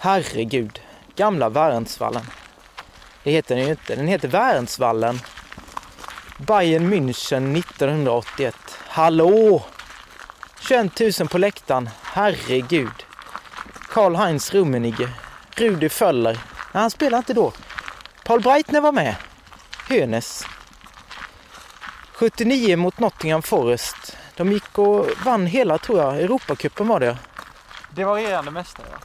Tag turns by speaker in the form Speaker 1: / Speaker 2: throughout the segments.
Speaker 1: Herregud, gamla Värnsvallen. Det heter den ju inte. Den heter Värnsvallen. Bayern München 1981. Hallå! 21 000 på läktaren. Herregud. Karl-Heinz Rummenigge. Rudi Föller. Nej, han spelade inte då. Paul Breitner var med. Hönes. 79 mot Nottingham Forest. De gick och vann hela, tror jag, Europacupen var det.
Speaker 2: Det var regerande mästare ja.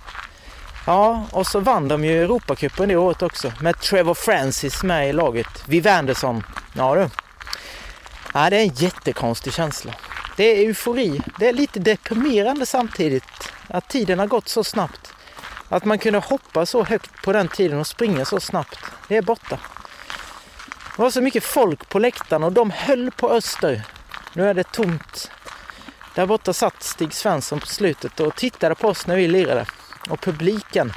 Speaker 1: Ja, och så vann de ju Europacupen det året också med Trevor Francis med i laget. Viv Anderson. Ja du. Ja, det är en jättekonstig känsla. Det är eufori. Det är lite deprimerande samtidigt. Att tiden har gått så snabbt. Att man kunde hoppa så högt på den tiden och springa så snabbt. Det är borta. Det var så mycket folk på läktaren och de höll på Öster. Nu är det tomt. Där borta satt Stig Svensson på slutet och tittade på oss när vi lirade. Och publiken,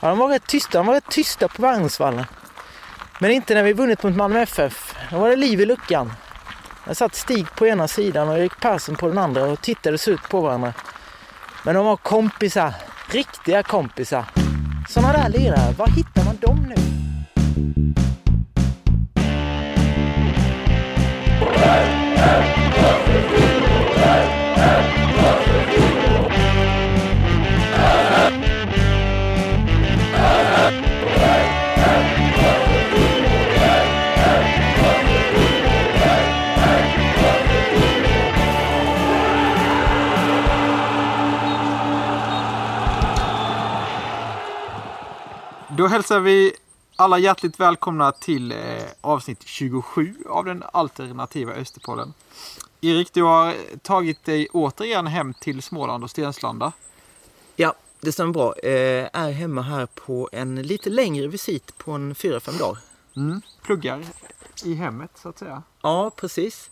Speaker 1: ja, de var rätt tysta. De var rätt tysta på Värnsvallen. Men inte när vi vunnit mot Malmö FF. Då var det liv i luckan. Där satt Stig på ena sidan och Erik Persson på den andra och tittade ut på varandra. Men de var kompisar. Riktiga kompisar. Såna där lirare, var hittar man dem nu?
Speaker 2: Då hälsar vi alla hjärtligt välkomna till eh, avsnitt 27 av den alternativa Österpollen. Erik, du har tagit dig återigen hem till Småland och Stenslanda.
Speaker 1: Ja, det stämmer bra. Eh, är hemma här på en lite längre visit på en 4-5 dagar.
Speaker 2: Mm. Pluggar i hemmet så att säga.
Speaker 1: Ja, precis.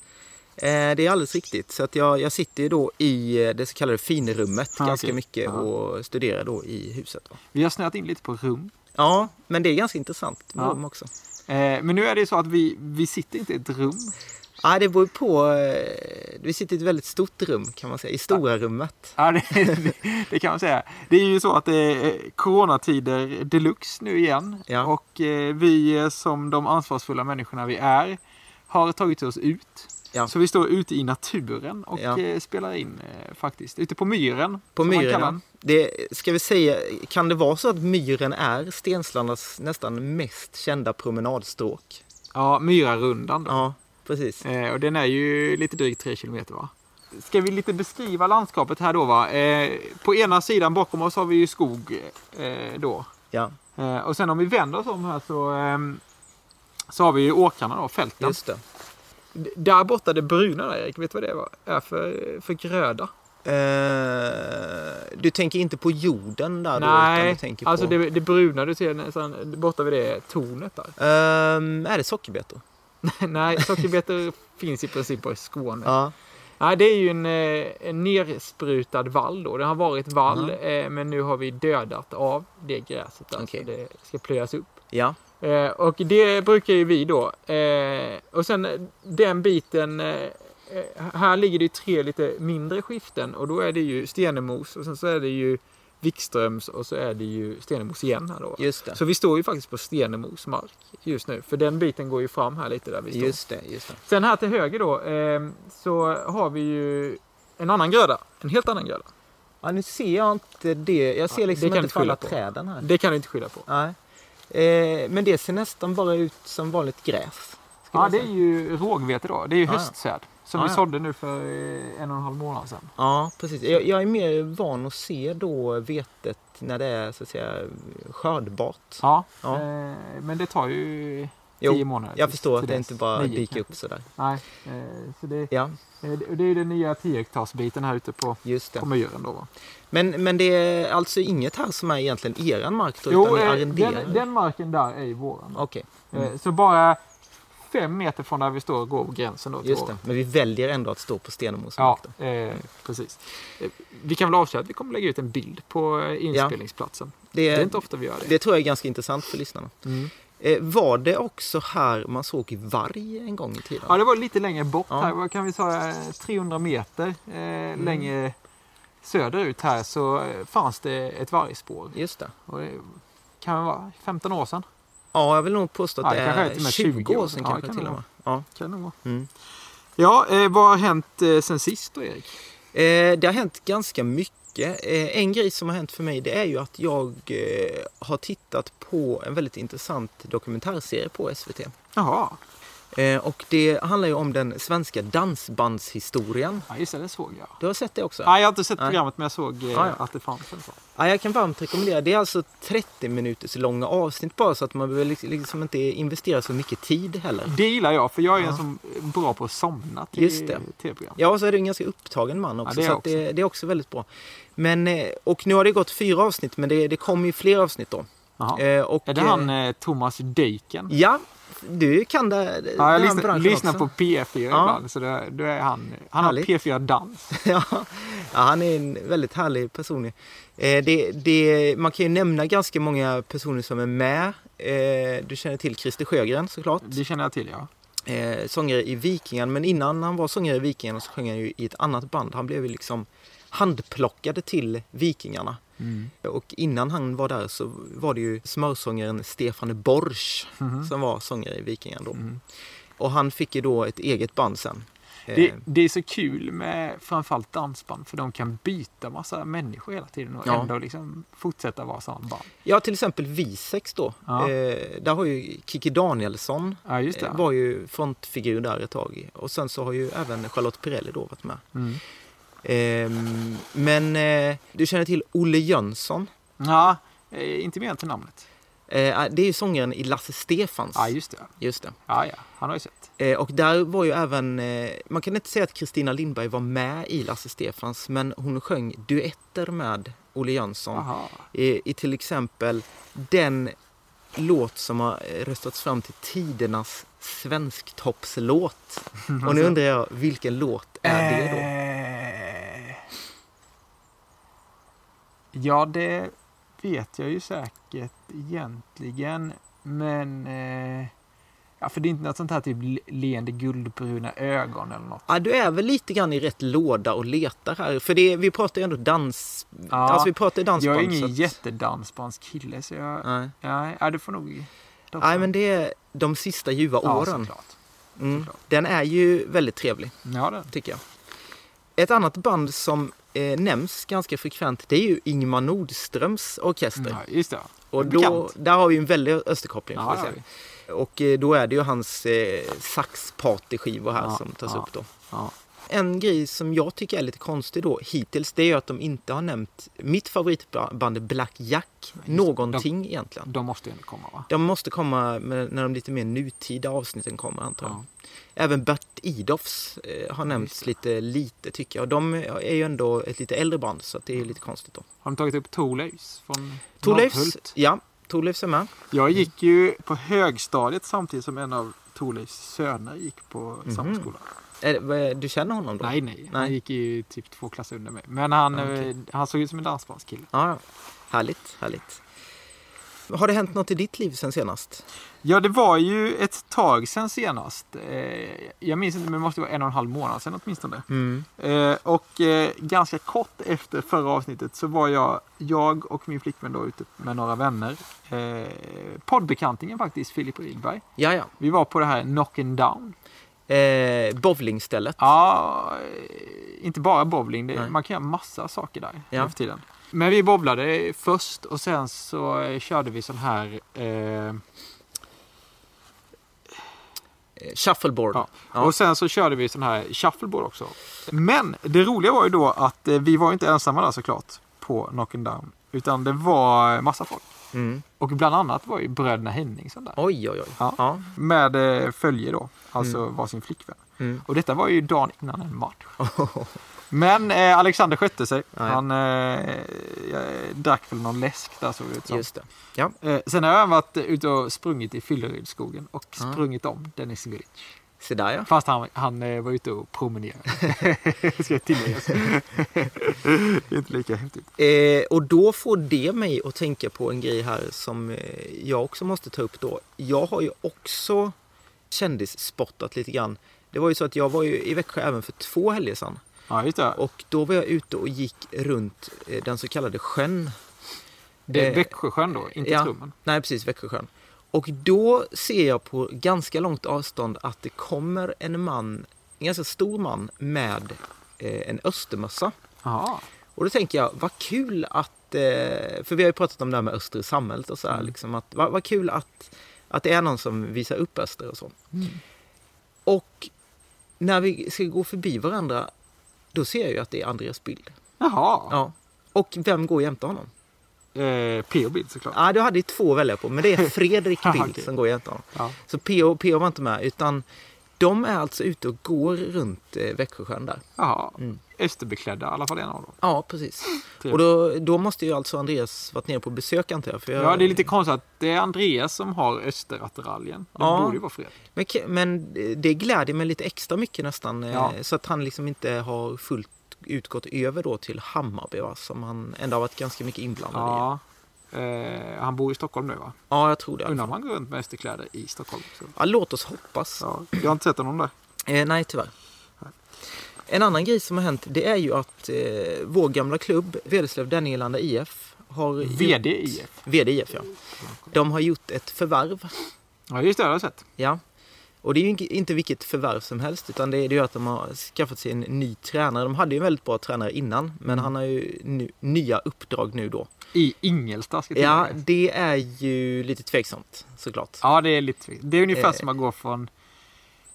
Speaker 1: Eh, det är alldeles riktigt. Så att jag, jag sitter ju då i eh, det så kallade finrummet
Speaker 2: Ah,
Speaker 1: ganska
Speaker 2: okej.
Speaker 1: mycket
Speaker 2: Ja.
Speaker 1: och studerar då i huset. Då.
Speaker 2: Vi har snöat in lite på rum.
Speaker 1: Ja, men det är ganska intressant med
Speaker 2: Ja.
Speaker 1: rum också.
Speaker 2: Eh, men nu är det ju så att vi, vi sitter inte i ett rum.
Speaker 1: Ja, det beror ju på. eh, Vi sitter i ett väldigt stort rum kan man säga, i stora rummet.
Speaker 2: Ja, det, det, det kan man säga. Det är ju så att det är coronatider deluxe nu igen.
Speaker 1: Ja.
Speaker 2: Och eh, vi eh, som de ansvarsfulla människorna vi är har tagit oss ut.
Speaker 1: Ja.
Speaker 2: Så vi står ute i naturen och
Speaker 1: Ja.
Speaker 2: eh, spelar in eh, faktiskt. Ute på myren.
Speaker 1: På
Speaker 2: som man kallar
Speaker 1: myren,
Speaker 2: den.
Speaker 1: det, ska vi säga, kan det vara så att myren är Stenslandas nästan mest kända promenadstråk?
Speaker 2: Ja, Myrarundan då.
Speaker 1: Ja, precis.
Speaker 2: Eh, och den är ju lite drygt tre kilometer va? Ska vi lite beskriva landskapet här då va? Eh, på ena sidan bakom oss har vi ju skog eh, då.
Speaker 1: Ja,
Speaker 2: Eh, och sen om vi vänder oss om här så, ehm, så har vi ju åkrarna då, fälten.
Speaker 1: just det.
Speaker 2: D- Där borta det bruna där Erik, vet du vad det var- är för, för gröda?
Speaker 1: Eh, du tänker inte på jorden där då? Utan du tänker
Speaker 2: alltså
Speaker 1: på...
Speaker 2: det, det bruna du ser nästan borta vid det tornet där.
Speaker 1: Ehm, är det sockerbetor?
Speaker 2: Nej, sockerbetor finns i princip bara i Skåne.
Speaker 1: Ja.
Speaker 2: Nej, det är ju en, eh, en nersprutad vall då. Det har varit vall, eh, men nu har vi dödat av det gräset där,
Speaker 1: Mm. Okej.
Speaker 2: så det ska plöjas upp.
Speaker 1: Ja.
Speaker 2: Eh, och det brukar ju vi då. Eh, och sen eh, den biten, eh, eh, här ligger det ju tre lite mindre skiften och då är det ju Stenemos och sen så är det ju Wikströms och så är det ju Stenemos igen här då.
Speaker 1: Just det.
Speaker 2: Så vi står ju faktiskt på Stenemos mark just nu, för den biten går ju fram här lite där vi står.
Speaker 1: Just det, just det.
Speaker 2: Sen här till höger då, eh, så har vi ju en annan gröda, en helt annan gröda.
Speaker 1: Ja, nu ser jag inte det. Jag ser
Speaker 2: Ja,
Speaker 1: liksom
Speaker 2: det kan
Speaker 1: inte
Speaker 2: du
Speaker 1: för alla
Speaker 2: skylla på.
Speaker 1: träden här.
Speaker 2: Det kan du inte skylla på.
Speaker 1: Nej. Eh, men det ser nästan bara ut som vanligt gräs. skulle
Speaker 2: Ja,
Speaker 1: jag
Speaker 2: det är
Speaker 1: säga.
Speaker 2: ju rågvete då. Det är ju
Speaker 1: Ja, ja.
Speaker 2: höstsäd. Som
Speaker 1: Ja,
Speaker 2: vi
Speaker 1: ja.
Speaker 2: sådde nu för eh, en och en halv månad sedan.
Speaker 1: ja precis. Jag, jag är mer van att se då vetet när det är så att säga skördbart.
Speaker 2: Ja,
Speaker 1: Ja.
Speaker 2: Eh, men det tar ju
Speaker 1: Jo,
Speaker 2: tio månader.
Speaker 1: Jag
Speaker 2: tills-
Speaker 1: förstår att
Speaker 2: till
Speaker 1: det
Speaker 2: dess.
Speaker 1: inte bara
Speaker 2: Nio
Speaker 1: dyker
Speaker 2: kanske.
Speaker 1: upp sådär.
Speaker 2: Nej, eh, så det,
Speaker 1: Ja,
Speaker 2: eh, det det är ju den nya 10 hektarsbiten här ute på,
Speaker 1: just det.
Speaker 2: på myren då. Va?
Speaker 1: Men, men det är alltså inget här som är egentligen eran mark då,
Speaker 2: Jo,
Speaker 1: utan ni
Speaker 2: eh,
Speaker 1: arrenderar?
Speaker 2: den, den marken där är ju våran. då.
Speaker 1: Okej,
Speaker 2: Eh, Så bara fem meter från där vi står går gränsen då till
Speaker 1: just
Speaker 2: våran.
Speaker 1: det. Men vi väljer ändå att stå på Stenemos
Speaker 2: Ja,
Speaker 1: mark då.
Speaker 2: eh, precis. Eh, Vi kan väl avslöja att vi kommer lägga ut en bild på eh, inspelningsplatsen.
Speaker 1: Det,
Speaker 2: Det är inte ofta vi gör det.
Speaker 1: det tror jag är ganska intressant för lyssnarna.
Speaker 2: Mm.
Speaker 1: Eh, var det också här man såg varg en gång i tiden?
Speaker 2: Ja, Mm. det var lite längre bort
Speaker 1: Ja.
Speaker 2: här. Vad kan vi säga? 300 meter eh, längre söderut här så eh, fanns det ett vargspår.
Speaker 1: Just det.
Speaker 2: Och det kan vara 15 år sedan.
Speaker 1: Ja, jag vill nog påstå att
Speaker 2: Ja, det
Speaker 1: det
Speaker 2: kanske är till och
Speaker 1: är
Speaker 2: med
Speaker 1: 20 år sedan
Speaker 2: Ja,
Speaker 1: kanske
Speaker 2: det kan
Speaker 1: till
Speaker 2: det
Speaker 1: och med. Ja.
Speaker 2: Kan det vara.
Speaker 1: Mm.
Speaker 2: Ja, eh, vad har hänt eh, sen sist då Erik?
Speaker 1: Eh, det har hänt ganska mycket. Eh, en grej som har hänt för mig det är ju att jag eh, har tittat på en väldigt intressant dokumentärserie på SVT.
Speaker 2: Jaha,
Speaker 1: Eh, och det handlar ju om den svenska dansbandshistorien.
Speaker 2: ja, just det, det såg jag.
Speaker 1: Du har sett det också?
Speaker 2: Nej, jag har inte sett
Speaker 1: Nej.
Speaker 2: programmet men jag såg eh,
Speaker 1: Ja, ja.
Speaker 2: att det fanns en sån.
Speaker 1: Ja, jag kan varmt rekommendera. Det är alltså 30 minuters långa avsnitt bara så att man behöver liksom- liksom inte investera så mycket tid heller.
Speaker 2: Det gillar jag för jag är
Speaker 1: Ja.
Speaker 2: en som är bra på att somna till
Speaker 1: Just det.
Speaker 2: tv-program.
Speaker 1: Ja, och så är du en ganska upptagen man också.
Speaker 2: det är
Speaker 1: så
Speaker 2: jag
Speaker 1: att Det, det är också väldigt bra. Men, eh, och nu har det gått fyra avsnitt, men det, det kommer ju fler avsnitt då.
Speaker 2: Jaha.
Speaker 1: Eh, och,
Speaker 2: Är det
Speaker 1: eh,
Speaker 2: han eh, Thomas Dyken?
Speaker 1: Ja, du kan det. den
Speaker 2: Ja,
Speaker 1: här
Speaker 2: jag lyssnar,
Speaker 1: branschen
Speaker 2: lyssnar
Speaker 1: också.
Speaker 2: på P4
Speaker 1: Ja.
Speaker 2: ibland, så det, då är han, han har
Speaker 1: Härligt.
Speaker 2: P4 Dans.
Speaker 1: ja, ja, han är en väldigt härlig person. ju. Eh, det, det, man kan ju nämna ganska många personer som är med. Eh, du känner till Christer Sjögren såklart.
Speaker 2: Det känner jag till, ja.
Speaker 1: eh, sångare i Vikingen. Men innan han var sångare i Vikingen så sjöng han ju i ett annat band. Han blev ju liksom handplockade till Vikingarna.
Speaker 2: Mm,
Speaker 1: Och innan han var där så var det ju smörsångaren Stefan Borsch som var sångare i Vikingen då.
Speaker 2: mm.
Speaker 1: Och han fick ju då ett eget band sen. Eh,
Speaker 2: Det, det är så kul med framförallt dansband, för de kan byta massa människor hela tiden och
Speaker 1: Ja.
Speaker 2: ändå liksom fortsätta vara sån band.
Speaker 1: Ja, till exempel Visex då.
Speaker 2: Ja.
Speaker 1: Eh, där har ju Kiki Danielsson
Speaker 2: Ja, just
Speaker 1: eh,
Speaker 2: det.
Speaker 1: var ju frontfigur där ett tag. Och sen så har ju även Charlotte Perrelli då varit med.
Speaker 2: Mm.
Speaker 1: Ehm, men eh, du känner till Olle Jönsson.
Speaker 2: Ja, eh, inte mer än till namnet.
Speaker 1: Eh, det är ju sångaren i Lasse Stefans.
Speaker 2: Ja, just det.
Speaker 1: Just det.
Speaker 2: Ja, ja. Han har ju sett.
Speaker 1: Eh, och där var ju även, eh, man kan inte säga att Kristina Lindberg var med i Lasse Stefans, men hon sjöng duetter med Olle Jönsson.
Speaker 2: Aha.
Speaker 1: I, I till exempel den låt som har eh, röstats fram till tidernas svensktoppslåt. Och nu undrar jag, vilken låt är det då?
Speaker 2: Eh, Ja, det vet jag ju säkert egentligen. Men... Eh... Ja, för det är inte något sånt här typ le- leende guldbruna ögon eller något.
Speaker 1: Ja, du är väl lite grann i rätt låda och letar här. För det, vi pratar ju ändå dans...
Speaker 2: Ja,
Speaker 1: Alltså vi pratar ju dansband.
Speaker 2: jag är ingen
Speaker 1: så att-
Speaker 2: jättedansbandskille så jag...
Speaker 1: Nej.
Speaker 2: Nej, ja, du får nog...
Speaker 1: Nej, men det är de sista ljuva
Speaker 2: ja,
Speaker 1: åren.
Speaker 2: såklart.
Speaker 1: Mm.
Speaker 2: såklart.
Speaker 1: Den är ju väldigt trevlig,
Speaker 2: Ja, det.
Speaker 1: tycker jag. Ett annat band som eh, nämns ganska frekvent, det är ju Ingmar Nordströms orkester.
Speaker 2: Ja, just det.
Speaker 1: och då,
Speaker 2: bekant.
Speaker 1: där har vi ju en väldig österkoppling. får
Speaker 2: Ja,
Speaker 1: vi
Speaker 2: ja,
Speaker 1: säga. Och eh, då är det ju hans eh, saxpartyskivor här
Speaker 2: Ja,
Speaker 1: som tas
Speaker 2: ja.
Speaker 1: upp då.
Speaker 2: ja.
Speaker 1: En grej som jag tycker är lite konstig då hittills, det är ju att de inte har nämnt mitt favoritband Black Jack någonting egentligen.
Speaker 2: De måste ju ändå komma, va?
Speaker 1: De måste komma med, när de lite mer nutida avsnitten kommer antar jag.
Speaker 2: Ja.
Speaker 1: Även Bert Idofs eh, har nämnts lite lite tycker jag. Och de är ju ändå ett lite äldre band så att det är ju lite konstigt då.
Speaker 2: Har de tagit upp Torleifs från
Speaker 1: Torleifs,
Speaker 2: Norrhult?
Speaker 1: ja, Torleifs är med.
Speaker 2: Jag gick ju på högstadiet samtidigt som en av Torleifs söner gick på samma skola.
Speaker 1: Är det- Eh, vad är- Du känner honom då?
Speaker 2: Nej, nej, Han
Speaker 1: Mhm. Nej.
Speaker 2: gick ju typ två klasser under mig. Men han,
Speaker 1: Ja, okej.
Speaker 2: eh, han såg ut som en dansbandskille.
Speaker 1: Ja, ja. härligt, härligt. Har det hänt något i ditt liv sen senast?
Speaker 2: Ja, det var ju ett tag sedan senast. Eh, jag minns inte, men det måste vara en och en halv månad sedan åtminstone.
Speaker 1: Mm.
Speaker 2: Eh, och eh, ganska kort efter förra avsnittet så var jag, jag och min flickvän då ute med några vänner. Eh, poddbekantingen faktiskt, Filip Rydberg.
Speaker 1: Ja, ja.
Speaker 2: Vi var på det här Knockin' Down.
Speaker 1: Eh, bowlingstället.
Speaker 2: Ja, eh, inte bara bowling. Det,
Speaker 1: Nej.
Speaker 2: man kan göra massa saker där
Speaker 1: Ja.
Speaker 2: nu för tiden. Men vi bowlade först och sen så eh, körde vi sån här... Eh,
Speaker 1: Eh, Shuffleboard.
Speaker 2: Ja.
Speaker 1: Ja.
Speaker 2: Och sen så körde vi sån här shuffleboard också. Men det roliga var ju då att eh, vi var ju inte ensamma där såklart på Knockin' Down. Utan det var massa folk.
Speaker 1: Mm.
Speaker 2: Och bland annat var ju bröderna Henningsson där.
Speaker 1: Oj, oj, oj.
Speaker 2: Ja.
Speaker 1: Ja.
Speaker 2: Med eh, följe då, alltså var sin flickvän.
Speaker 1: Mm.
Speaker 2: Och detta var ju dagen innan en match. Men eh, Alexander skötte sig.
Speaker 1: Ja, ja.
Speaker 2: Han eh, eh, drack väl någon läsk där såg det ut som.
Speaker 1: Just det. Ja.
Speaker 2: Eh, sen har jag varit ute och sprungit i Fyllerydsskogen och sprungit om Dennis Gulic.
Speaker 1: Se där ja.
Speaker 2: Fast han, han eh, var ute och promenerade. Ska jag tillägga. Det är inte lika häftigt.
Speaker 1: Eh, och då får det mig att tänka på en grej här som eh, jag också måste ta upp då. Jag har ju också kändisspottat lite grann. Det var ju så att jag var ju i Växjö även för två helger sedan.
Speaker 2: Ja, just det.
Speaker 1: Och då var jag ute och gick runt eh, den så kallade sjön.
Speaker 2: Det är
Speaker 1: eh,
Speaker 2: Växjösjön då, inte
Speaker 1: ja.
Speaker 2: Trummen.
Speaker 1: Nej, precis, Växjösjön. Och då ser jag på ganska långt avstånd att det kommer en man, en ganska stor man, med eh, en östermössa.
Speaker 2: Jaha.
Speaker 1: Och då tänker jag, vad kul att, eh, för vi har ju pratat om det här med öster i samhället och så här, liksom att, vad, vad kul att, att det är någon som visar upp öster och så. Och när vi ska gå förbi varandra, då ser jag ju att det är Andreas bild.
Speaker 2: Jaha.
Speaker 1: Ja. Och vem går jämte honom?
Speaker 2: Eh, P.O. Bild såklart.
Speaker 1: Ja, du hade ju två att välja på, men det är Fredrik
Speaker 2: Ja,
Speaker 1: Bild
Speaker 2: okej.
Speaker 1: som går jämte honom.
Speaker 2: Ja.
Speaker 1: Så PO, PO var inte med, utan de är alltså ute och går runt eh, Växjösjön där.
Speaker 2: Jaha.
Speaker 1: Mm.
Speaker 2: Österbeklädda i alla fall en av dem.
Speaker 1: Ja, precis.
Speaker 2: Trevligt.
Speaker 1: Och då, då måste ju alltså Andreas varit nere på besök antar jag. För jag
Speaker 2: Ja, det är lite konstigt att det är Andreas som har österattiraljen. Det
Speaker 1: Ja.
Speaker 2: borde ju vara Fredrik.
Speaker 1: men, k- men det glädjer mig lite extra mycket nästan. eh,
Speaker 2: Ja.
Speaker 1: Så att han liksom inte har fullt utgått över då till Hammarby va, som han ändå har varit ganska mycket inblandad i.
Speaker 2: Ja. Eh, han bor i Stockholm nu va?
Speaker 1: Ja, jag tror det. i alla
Speaker 2: Undrar om
Speaker 1: fall.
Speaker 2: han går runt med österkläder i Stockholm också.
Speaker 1: Ja, låt oss hoppas.
Speaker 2: Ja. Jag har inte sett honom där.
Speaker 1: Eh, nej, tyvärr. En annan grej som har hänt det är ju att eh, vår gamla klubb, Vedeslöv Denningelanda IF, har gjort-
Speaker 2: VD IF.
Speaker 1: VD IF, ja. De har gjort ett förvärv.
Speaker 2: Ja, just det. Jag har jag sett.
Speaker 1: Ja. Och det är ju inte- inte vilket förvärv som helst utan det är det är ju att de har skaffat sig en ny tränare. De hade ju en väldigt bra tränare innan men
Speaker 2: Mm.
Speaker 1: han har ju nu, nya uppdrag nu då.
Speaker 2: I Ingelstad ska
Speaker 1: Ja,
Speaker 2: tilläggas.
Speaker 1: det är ju lite tveksamt såklart.
Speaker 2: ja, det är lite tveksamt. Det är ungefär
Speaker 1: Eh.
Speaker 2: som att gå från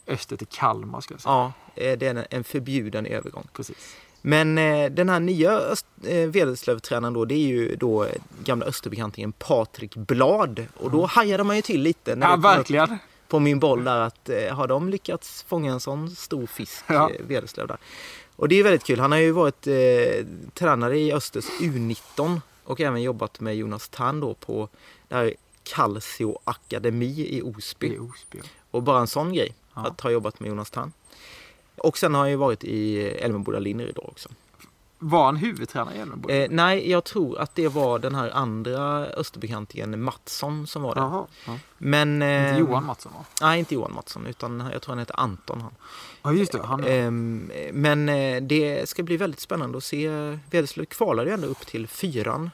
Speaker 2: öster till Kalmar ska jag säga.
Speaker 1: Ja, eh, det är en- en förbjuden övergång.
Speaker 2: Precis.
Speaker 1: Men eh, den här nya Öst, eh, Vedeslövtränaren då, det är ju då eh, gamla Österbekantingen Patrik Blad. Och då hajade man ju till lite när
Speaker 2: Mm. Ja,
Speaker 1: det kom upp
Speaker 2: verkligen.
Speaker 1: på min boll där att eh, har de lyckats fånga en sån stor fisk,
Speaker 2: Ja.
Speaker 1: eh, Vedeslöv där. Och det är ju väldigt kul. Han har ju varit eh, tränare i Östers U19 och även jobbat med Jonas Tern då på det här Calcio Akademi i
Speaker 2: Det
Speaker 1: Osby.
Speaker 2: är Osby. ja.
Speaker 1: Och bara en sån grej,
Speaker 2: Mm. Ja.
Speaker 1: att ha jobbat med Jonas Tern. Och sen har han ju varit i Älmeboda linjer idag också.
Speaker 2: Var han huvudtränare i Elfsborg?
Speaker 1: Eh, nej, jag tror att det var den här andra Österbekantingen Mattsson som var det.
Speaker 2: Jaha. Ja.
Speaker 1: Men... eh,
Speaker 2: Inte Johan Mattsson va?
Speaker 1: Nej, inte Johan Mattsson, utan jag tror han heter Anton han.
Speaker 2: Ja, just det. Han är...
Speaker 1: Ehm, Men eh, det ska bli väldigt spännande att se. Vedeslöv kvalade ju ändå upp till fyran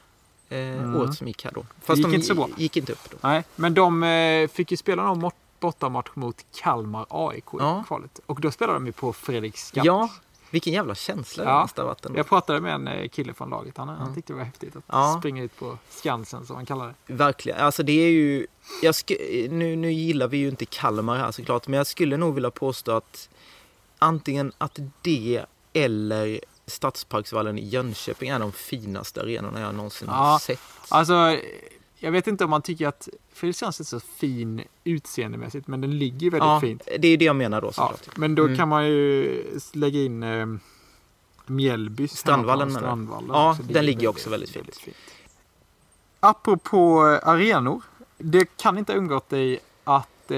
Speaker 1: eh, året som gick här då. Fast
Speaker 2: gick
Speaker 1: de
Speaker 2: inte så bra.
Speaker 1: gick inte upp då.
Speaker 2: Nej, men de eh, fick ju spela någon mort- bortamatch mot Kalmar AIK
Speaker 1: Ja.
Speaker 2: i kvalet. Och då spelade de ju på Fredriksskans.
Speaker 1: Ja, vilken jävla känsla det
Speaker 2: Ja.
Speaker 1: måste ha varit ändå.
Speaker 2: Jag pratade med en eh, kille från laget. Han, han tyckte det var häftigt att
Speaker 1: Mm. Ja.
Speaker 2: springa ut på Skansen som han kallar det.
Speaker 1: Verkligen. Alltså det är ju... Jag sku... nu, nu gillar vi ju inte Kalmar här såklart, men jag skulle nog vilja påstå att antingen att det eller Stadsparksvallen i Jönköping är de finaste arenorna jag någonsin har
Speaker 2: Ja.
Speaker 1: sett.
Speaker 2: Alltså, eh, jag vet inte om man tycker att Fredriksskans är så fin utseendemässigt, men den ligger ju väldigt fint.
Speaker 1: det är ju det jag menar då
Speaker 2: Ja,
Speaker 1: såklart.
Speaker 2: men då kan man ju s- lägga in eh, Mjällby.
Speaker 1: Strandvallen
Speaker 2: hemmaplan,
Speaker 1: menar jag.
Speaker 2: Strandvallen.
Speaker 1: Ja,
Speaker 2: Så
Speaker 1: den ligger också väldigt fint.
Speaker 2: Apropå eh, arenor. Det kan inte ha undgått dig att eh,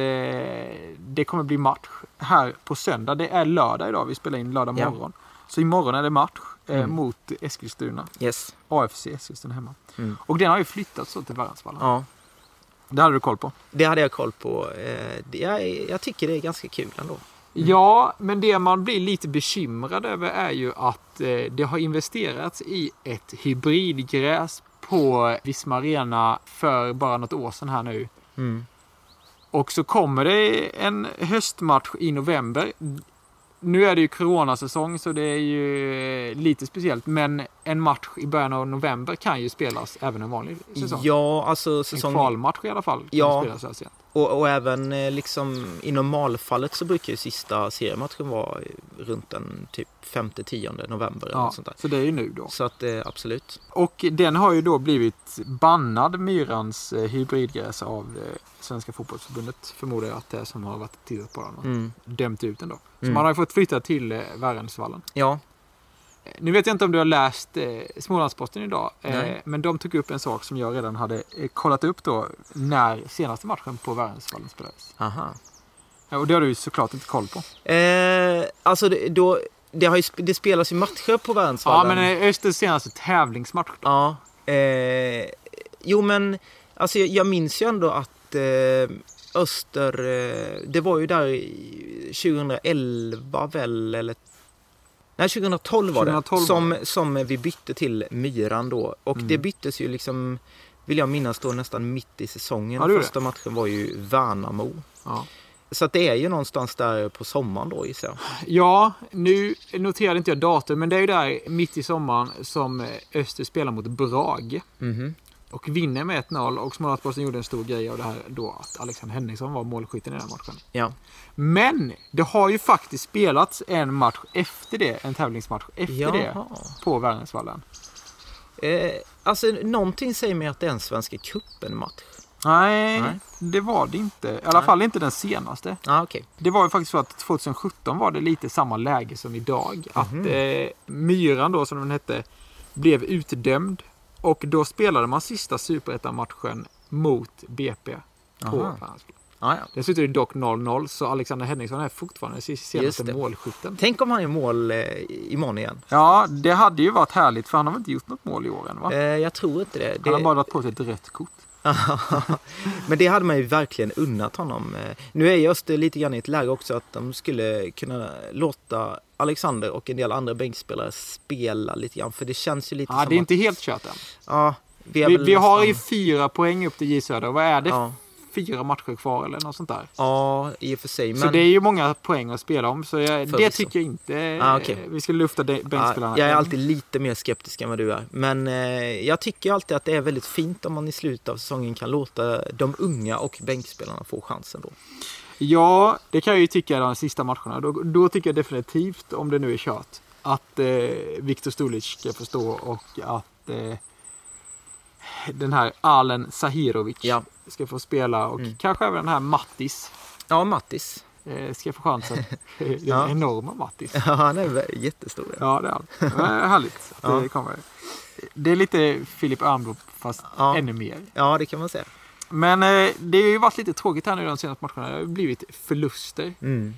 Speaker 2: det kommer bli match här på söndag. Det är lördag idag. Vi spelar in lördag
Speaker 1: Ja.
Speaker 2: morgon. Så imorgon är det match eh,
Speaker 1: Mm.
Speaker 2: mot Eskilstuna.
Speaker 1: Yes.
Speaker 2: AFC Eskilstuna hemma.
Speaker 1: Mm.
Speaker 2: Och den har ju flyttats så till Värnsvallen.
Speaker 1: Ja.
Speaker 2: Det hade du koll på.
Speaker 1: Det hade jag koll på. Eh, det- Jag, jag tycker det är ganska kul ändå.
Speaker 2: Ja, men det man blir lite bekymrad över är ju att eh, det har investerats i ett hybridgräs på Visma Arena för bara något år sedan här nu.
Speaker 1: Mm.
Speaker 2: Och så kommer det en höstmatch i november. Nu är det ju coronasäsong så det är ju eh, lite speciellt, men en match i början av november kan ju spelas även en vanlig säsong.
Speaker 1: Ja, alltså
Speaker 2: En
Speaker 1: säsong...
Speaker 2: kvalmatch i alla fall kan
Speaker 1: Ja.
Speaker 2: ju spelas här sen.
Speaker 1: Och, och även eh, liksom i normalfallet så brukar ju sista seriematchen vara eh, runt den typ 5-10 november eller
Speaker 2: Ja,
Speaker 1: något sånt där.
Speaker 2: så det är ju nu då.
Speaker 1: Så att eh, absolut.
Speaker 2: Och den har ju då blivit bannad, Myrans eh, hybridgräs, av eh, Svenska fotbollsförbundet förmodar jag att det är som har varit och tittat på den och
Speaker 1: Mm.
Speaker 2: dömt ut den då. Så
Speaker 1: Mm.
Speaker 2: man har ju fått flytta till eh, Värensvallen.
Speaker 1: Ja,
Speaker 2: Eh, Nu vet jag inte om du har läst eh, Smålandsposten idag, eh,
Speaker 1: Nej.
Speaker 2: men de tog upp en sak som jag redan hade eh, kollat upp då när senaste matchen på Värensvallen spelades.
Speaker 1: aha.
Speaker 2: Ja, Och det har du ju såklart inte koll på.
Speaker 1: Eh, alltså det, då, det, har ju, sp- det spelas ju matcher på Värnsvallen.
Speaker 2: Ja, men eh, Östers senaste tävlingsmatch då.
Speaker 1: Ja. Eh, jo, men alltså, jag, jag minns ju ändå att eh, Öster, eh, det var ju där i 2011 väl, eller... Nej, 2012 var det.
Speaker 2: 2012 var
Speaker 1: som, som vi bytte till Myran då. Och
Speaker 2: Mm.
Speaker 1: det byttes ju liksom, vill jag minnas då, nästan mitt i säsongen.
Speaker 2: Ja, det gjorde
Speaker 1: Första matchen var ju Värnamo.
Speaker 2: Ja.
Speaker 1: Så att det är ju någonstans där på sommaren då gissar jag.
Speaker 2: Ja, nu noterade inte jag datum, men det är ju där mitt i sommaren som eh, Öster spelar mot Brage
Speaker 1: Mhm,
Speaker 2: och vinner med 1-0 och Smålandsposten gjorde en stor grej av det här då att Alexander Henningsson var målskytten i den här matchen.
Speaker 1: Ja.
Speaker 2: Men det har ju faktiskt spelats en match efter det, en tävlingsmatch efter det
Speaker 1: Jaha.
Speaker 2: på Värnäsvallen.
Speaker 1: Eh, alltså någonting säger mig att det är en Svenska cupen-match.
Speaker 2: Nej,
Speaker 1: Nej.
Speaker 2: det var det inte. I alla
Speaker 1: Nej.
Speaker 2: fall inte den senaste.
Speaker 1: Ja, ah, okej.
Speaker 2: Det var ju faktiskt så att 2017 var det lite samma läge som idag. Att eh, Myran då, som den hette, blev utdömd. Och då spelade man sista superettan-matchen mot BP på
Speaker 1: Aha.
Speaker 2: Värnamo.
Speaker 1: Ah, ja.
Speaker 2: Den slutade ju dock 0-0, så Alexander Henningsson är fortfarande den
Speaker 1: Just
Speaker 2: senaste
Speaker 1: det.
Speaker 2: målskytten.
Speaker 1: Tänk om han gör mål eh, imorgon igen.
Speaker 2: Ja, det hade ju varit härligt, för han har väl inte gjort något mål i år än, va?
Speaker 1: Eh, jag tror inte det.
Speaker 2: Han har
Speaker 1: det
Speaker 2: bara dragit på sig ett rött kort.
Speaker 1: men det hade man ju verkligen unnat honom. Eh, Nu är ju Öster lite grann i ett läge också att de skulle kunna låta Alexander och en del andra bänkspelare spela lite grann. För det känns ju lite
Speaker 2: Ja,
Speaker 1: som
Speaker 2: det är inte helt kört än.
Speaker 1: att... Ja, vi, är
Speaker 2: Vi,
Speaker 1: väl
Speaker 2: vi har
Speaker 1: nästan-
Speaker 2: ju fyra poäng upp till J Söder. Vad är det?
Speaker 1: Ja.
Speaker 2: Fyra matcher kvar eller något sånt där.
Speaker 1: Ja, i och för sig.
Speaker 2: Så
Speaker 1: Men
Speaker 2: det är ju många poäng att spela om, så jag, det
Speaker 1: Förvisso.
Speaker 2: tycker jag inte
Speaker 1: Ah, okej.
Speaker 2: vi ska lufta de-
Speaker 1: ja,
Speaker 2: bänkspelarna.
Speaker 1: jag är alltid lite mer skeptisk än vad du är. Men eh, jag tycker alltid att det är väldigt fint om man i slutet av säsongen kan låta de unga och bänkspelarna få chansen då.
Speaker 2: Ja, det kan jag ju tycka de sista matcherna. Då, då tycker jag definitivt, om det nu är kört, att eh, Viktor Stulic ska förstå och att eh, den här Alen Sahirovic
Speaker 1: Ja. Mm.
Speaker 2: ska få spela och kanske även den här Mattis
Speaker 1: Ja, Mattis.
Speaker 2: eh, ska få chansen. den
Speaker 1: Ja.
Speaker 2: enorma Mattis.
Speaker 1: Ja, han är vä- jättestor. Ja.
Speaker 2: Ja, det är han. Det är Härligt att det
Speaker 1: Ja.
Speaker 2: kommer. Det är lite Filip Örnblom fast
Speaker 1: Ja.
Speaker 2: ännu mer.
Speaker 1: ja, det kan man säga.
Speaker 2: Men eh, det har ju varit lite tråkigt här nu de senaste matcherna. Det har ju blivit förluster.
Speaker 1: Mm.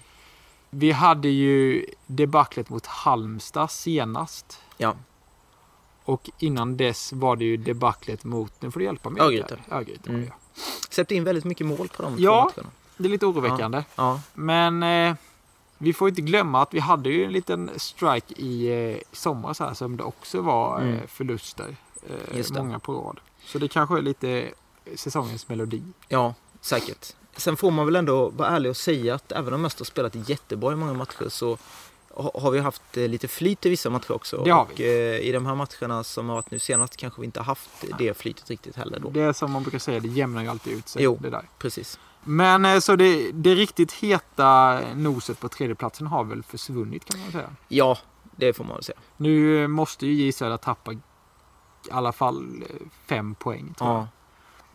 Speaker 2: Vi hade ju debaclet mot Halmstad senast.
Speaker 1: Ja.
Speaker 2: Och innan dess var det ju debaclet mot, nu får du hjälpa mig.
Speaker 1: Örgryte.
Speaker 2: här. Örgryte var det,
Speaker 1: Mm.
Speaker 2: ja.
Speaker 1: Sätter in väldigt mycket mål på de
Speaker 2: Ja.
Speaker 1: två matcherna.
Speaker 2: det är lite oroväckande.
Speaker 1: Ja.
Speaker 2: Men eh, vi får inte glömma att vi hade ju en liten strike i eh, somras här som det också var eh,
Speaker 1: Mm.
Speaker 2: förluster. Eh,
Speaker 1: Just det.
Speaker 2: många på rad. Så det kanske är lite eh, säsongens melodi.
Speaker 1: ja, säkert. Sen får man väl ändå vara ärlig och säga att även om Öster spelat jättebra i många matcher så ha- har vi haft eh, lite flyt i vissa matcher också.
Speaker 2: Det har
Speaker 1: och eh, i de här matcherna som har varit nu senast kanske vi inte har haft det flytet riktigt heller då.
Speaker 2: Det är som man brukar säga, det jämnar ju alltid ut sig.
Speaker 1: Jo.
Speaker 2: Det där.
Speaker 1: Precis.
Speaker 2: Men eh, så det, det riktigt heta noset på tredjeplatsen har väl försvunnit kan man säga.
Speaker 1: Ja, det får man väl säga.
Speaker 2: Nu eh, måste ju J Södra tappa i alla fall eh, fem poäng tror jag.
Speaker 1: Ja.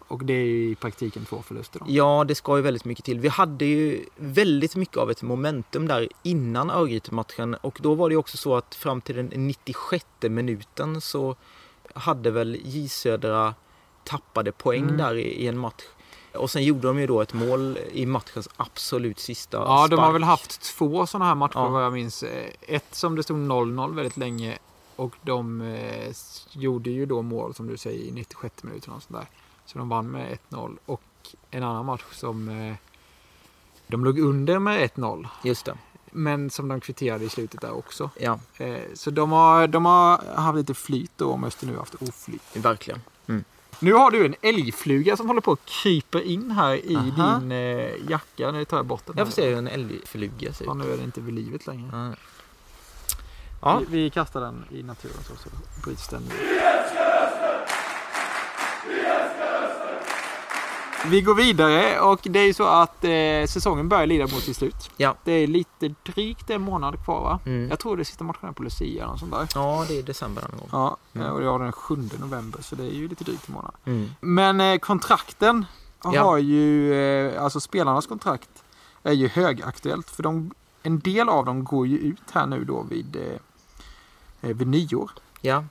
Speaker 2: Och det är ju i praktiken två förluster. Då.
Speaker 1: ja, det ska ju väldigt mycket till. Vi hade ju väldigt mycket av ett momentum där innan Örgryte-matchen och då var det ju också så att fram till den 96 minuten så hade väl J Södra tappade poäng
Speaker 2: Mm.
Speaker 1: där i, i en match. Och sen gjorde de ju då ett mål i matchens absolut sista
Speaker 2: Ja, de har
Speaker 1: spark.
Speaker 2: väl haft två sådana här matcher
Speaker 1: Ja.
Speaker 2: vad jag minns. Eh, Ett som det stod 0-0 väldigt länge och de eh, s- gjorde ju då mål som du säger i 96 minuter och sånt där. Så de vann med 1-0 och en annan match som eh, de låg under med 1-0.
Speaker 1: Just det.
Speaker 2: Men som de kvitterade i slutet där också.
Speaker 1: Ja,
Speaker 2: Eh, så de har, de har haft lite flyt då om Öster nu har haft oflyt.
Speaker 1: verkligen.
Speaker 2: Nu har du en älgfluga som håller på att krypa in här i
Speaker 1: Aha.
Speaker 2: din eh, jacka. Nu tar jag bort den.
Speaker 1: Jag får se
Speaker 2: här.
Speaker 1: hur en älgfluga ser
Speaker 2: Ja,
Speaker 1: ut.
Speaker 2: nu är den inte vid livet längre.
Speaker 1: Ja. Ja.
Speaker 2: Vi, vi kastar den i naturen så, så bryts den. Vi går vidare och det är ju så att eh, säsongen börjar lida mot sitt slut.
Speaker 1: Ja.
Speaker 2: Det är lite drygt en månad kvar va?
Speaker 1: Mm.
Speaker 2: Jag tror det är sista matchen är på Lucia eller något sånt där.
Speaker 1: ja, det är december någon gång.
Speaker 2: Ja, eh,
Speaker 1: Mm.
Speaker 2: och det var den 7 november så det är ju lite drygt en månad.
Speaker 1: Mm.
Speaker 2: Men eh, kontrakten
Speaker 1: Ja.
Speaker 2: har ju, eh, alltså spelarnas kontrakt är ju högaktuellt för de, en del av dem går ju ut här nu då vid, eh, eh, vid nyår.
Speaker 1: Ja.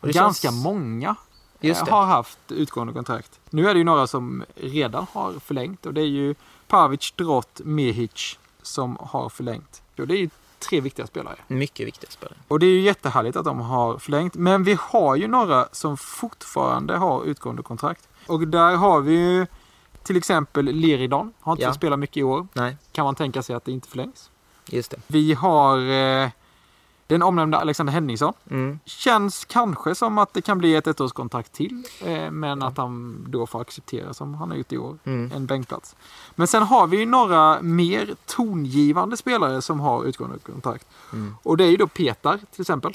Speaker 1: Och det
Speaker 2: Ganska
Speaker 1: känns-
Speaker 2: många eh,
Speaker 1: Just det.
Speaker 2: har haft utgående kontrakt. Nu är det ju några som redan har förlängt och det är ju Pavic, Drott, Mehic som har förlängt. Och det är ju tre viktiga spelare.
Speaker 1: Mycket viktiga spelare.
Speaker 2: Och det är ju jättehärligt att de har förlängt. Men vi har ju några som fortfarande har utgående kontrakt. Och där har vi ju till exempel Liridan. Har inte
Speaker 1: Ja.
Speaker 2: fått spela mycket i år.
Speaker 1: Nej,
Speaker 2: Kan man tänka sig att det inte förlängs.
Speaker 1: just det.
Speaker 2: Vi har eh, Den omnämnda Alexander Henningsson.
Speaker 1: Mm.
Speaker 2: Känns kanske som att det kan bli ett ettårskontrakt till. Eh, men att han då får acceptera, som han har gjort i år,
Speaker 1: Mm.
Speaker 2: en bänkplats. Men sen har vi ju några mer tongivande spelare som har utgående kontrakt.
Speaker 1: Mm.
Speaker 2: Och det är ju då Petar till exempel.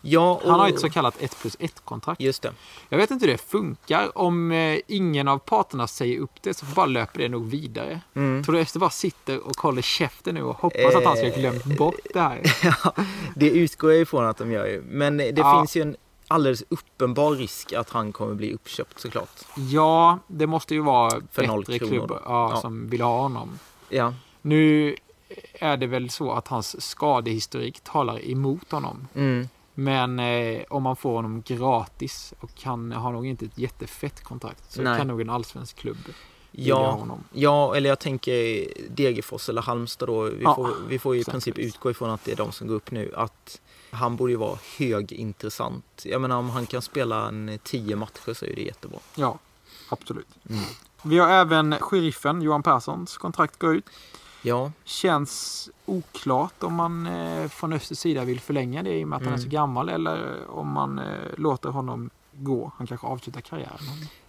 Speaker 1: Ja, och...
Speaker 2: Han har ett så kallat 1 plus 1-kontrakt.
Speaker 1: Just det.
Speaker 2: Jag vet inte hur det funkar. Om eh, ingen av parterna säger upp det så bara löper det nog vidare.
Speaker 1: Mm. Eh.
Speaker 2: Tror du Ester bara sitter och håller käften nu och hoppas att han ska ha glömt bort det här?
Speaker 1: Det utgår jag ifrån att de gör ju. Men det
Speaker 2: Ja.
Speaker 1: finns ju en alldeles uppenbar risk att han kommer bli uppköpt såklart.
Speaker 2: Ja, det måste ju vara
Speaker 1: noll
Speaker 2: bättre
Speaker 1: kronor.
Speaker 2: klubbar ja,
Speaker 1: Ja.
Speaker 2: som vill ha honom.
Speaker 1: Ja.
Speaker 2: Nu är det väl så att hans skadehistorik talar emot honom.
Speaker 1: Mm.
Speaker 2: Men eh, om man får honom gratis och han har nog inte ett jättefett kontrakt så
Speaker 1: Nej.
Speaker 2: kan nog en allsvensk klubb vilja ha
Speaker 1: Ja,
Speaker 2: honom.
Speaker 1: ja, eller jag tänker Degerfors eller Halmstad då. Vi,
Speaker 2: Ja,
Speaker 1: får, vi får ju i
Speaker 2: exempelvis.
Speaker 1: princip utgå ifrån att det är de som går upp nu. Att han borde ju vara högintressant. Jag menar om han kan spela en tio matcher så är det jättebra.
Speaker 2: Ja, absolut. Vi har även sheriffen Johan Perssons kontrakt går ut.
Speaker 1: Ja,
Speaker 2: Känns oklart om man eh, från Östers sida vill förlänga det i och med att han är
Speaker 1: Mm.
Speaker 2: så gammal eller om man eh, låter honom gå. Han kanske avslutar karriären.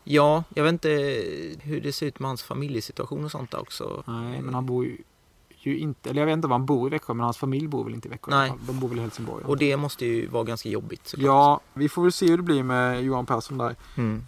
Speaker 1: ja, jag vet inte hur det ser ut med hans familjesituation och sånt där också.
Speaker 2: Nej, men han bor ju, ju inte, eller jag vet inte om han bor i Växjö, men hans familj bor väl inte i Växjö? i alla
Speaker 1: Nej.
Speaker 2: fall. De bor väl i Helsingborg?
Speaker 1: Och det måste ju vara ganska jobbigt såklart.
Speaker 2: Ja, vi får väl se hur det blir med Johan Persson där.
Speaker 1: Mm.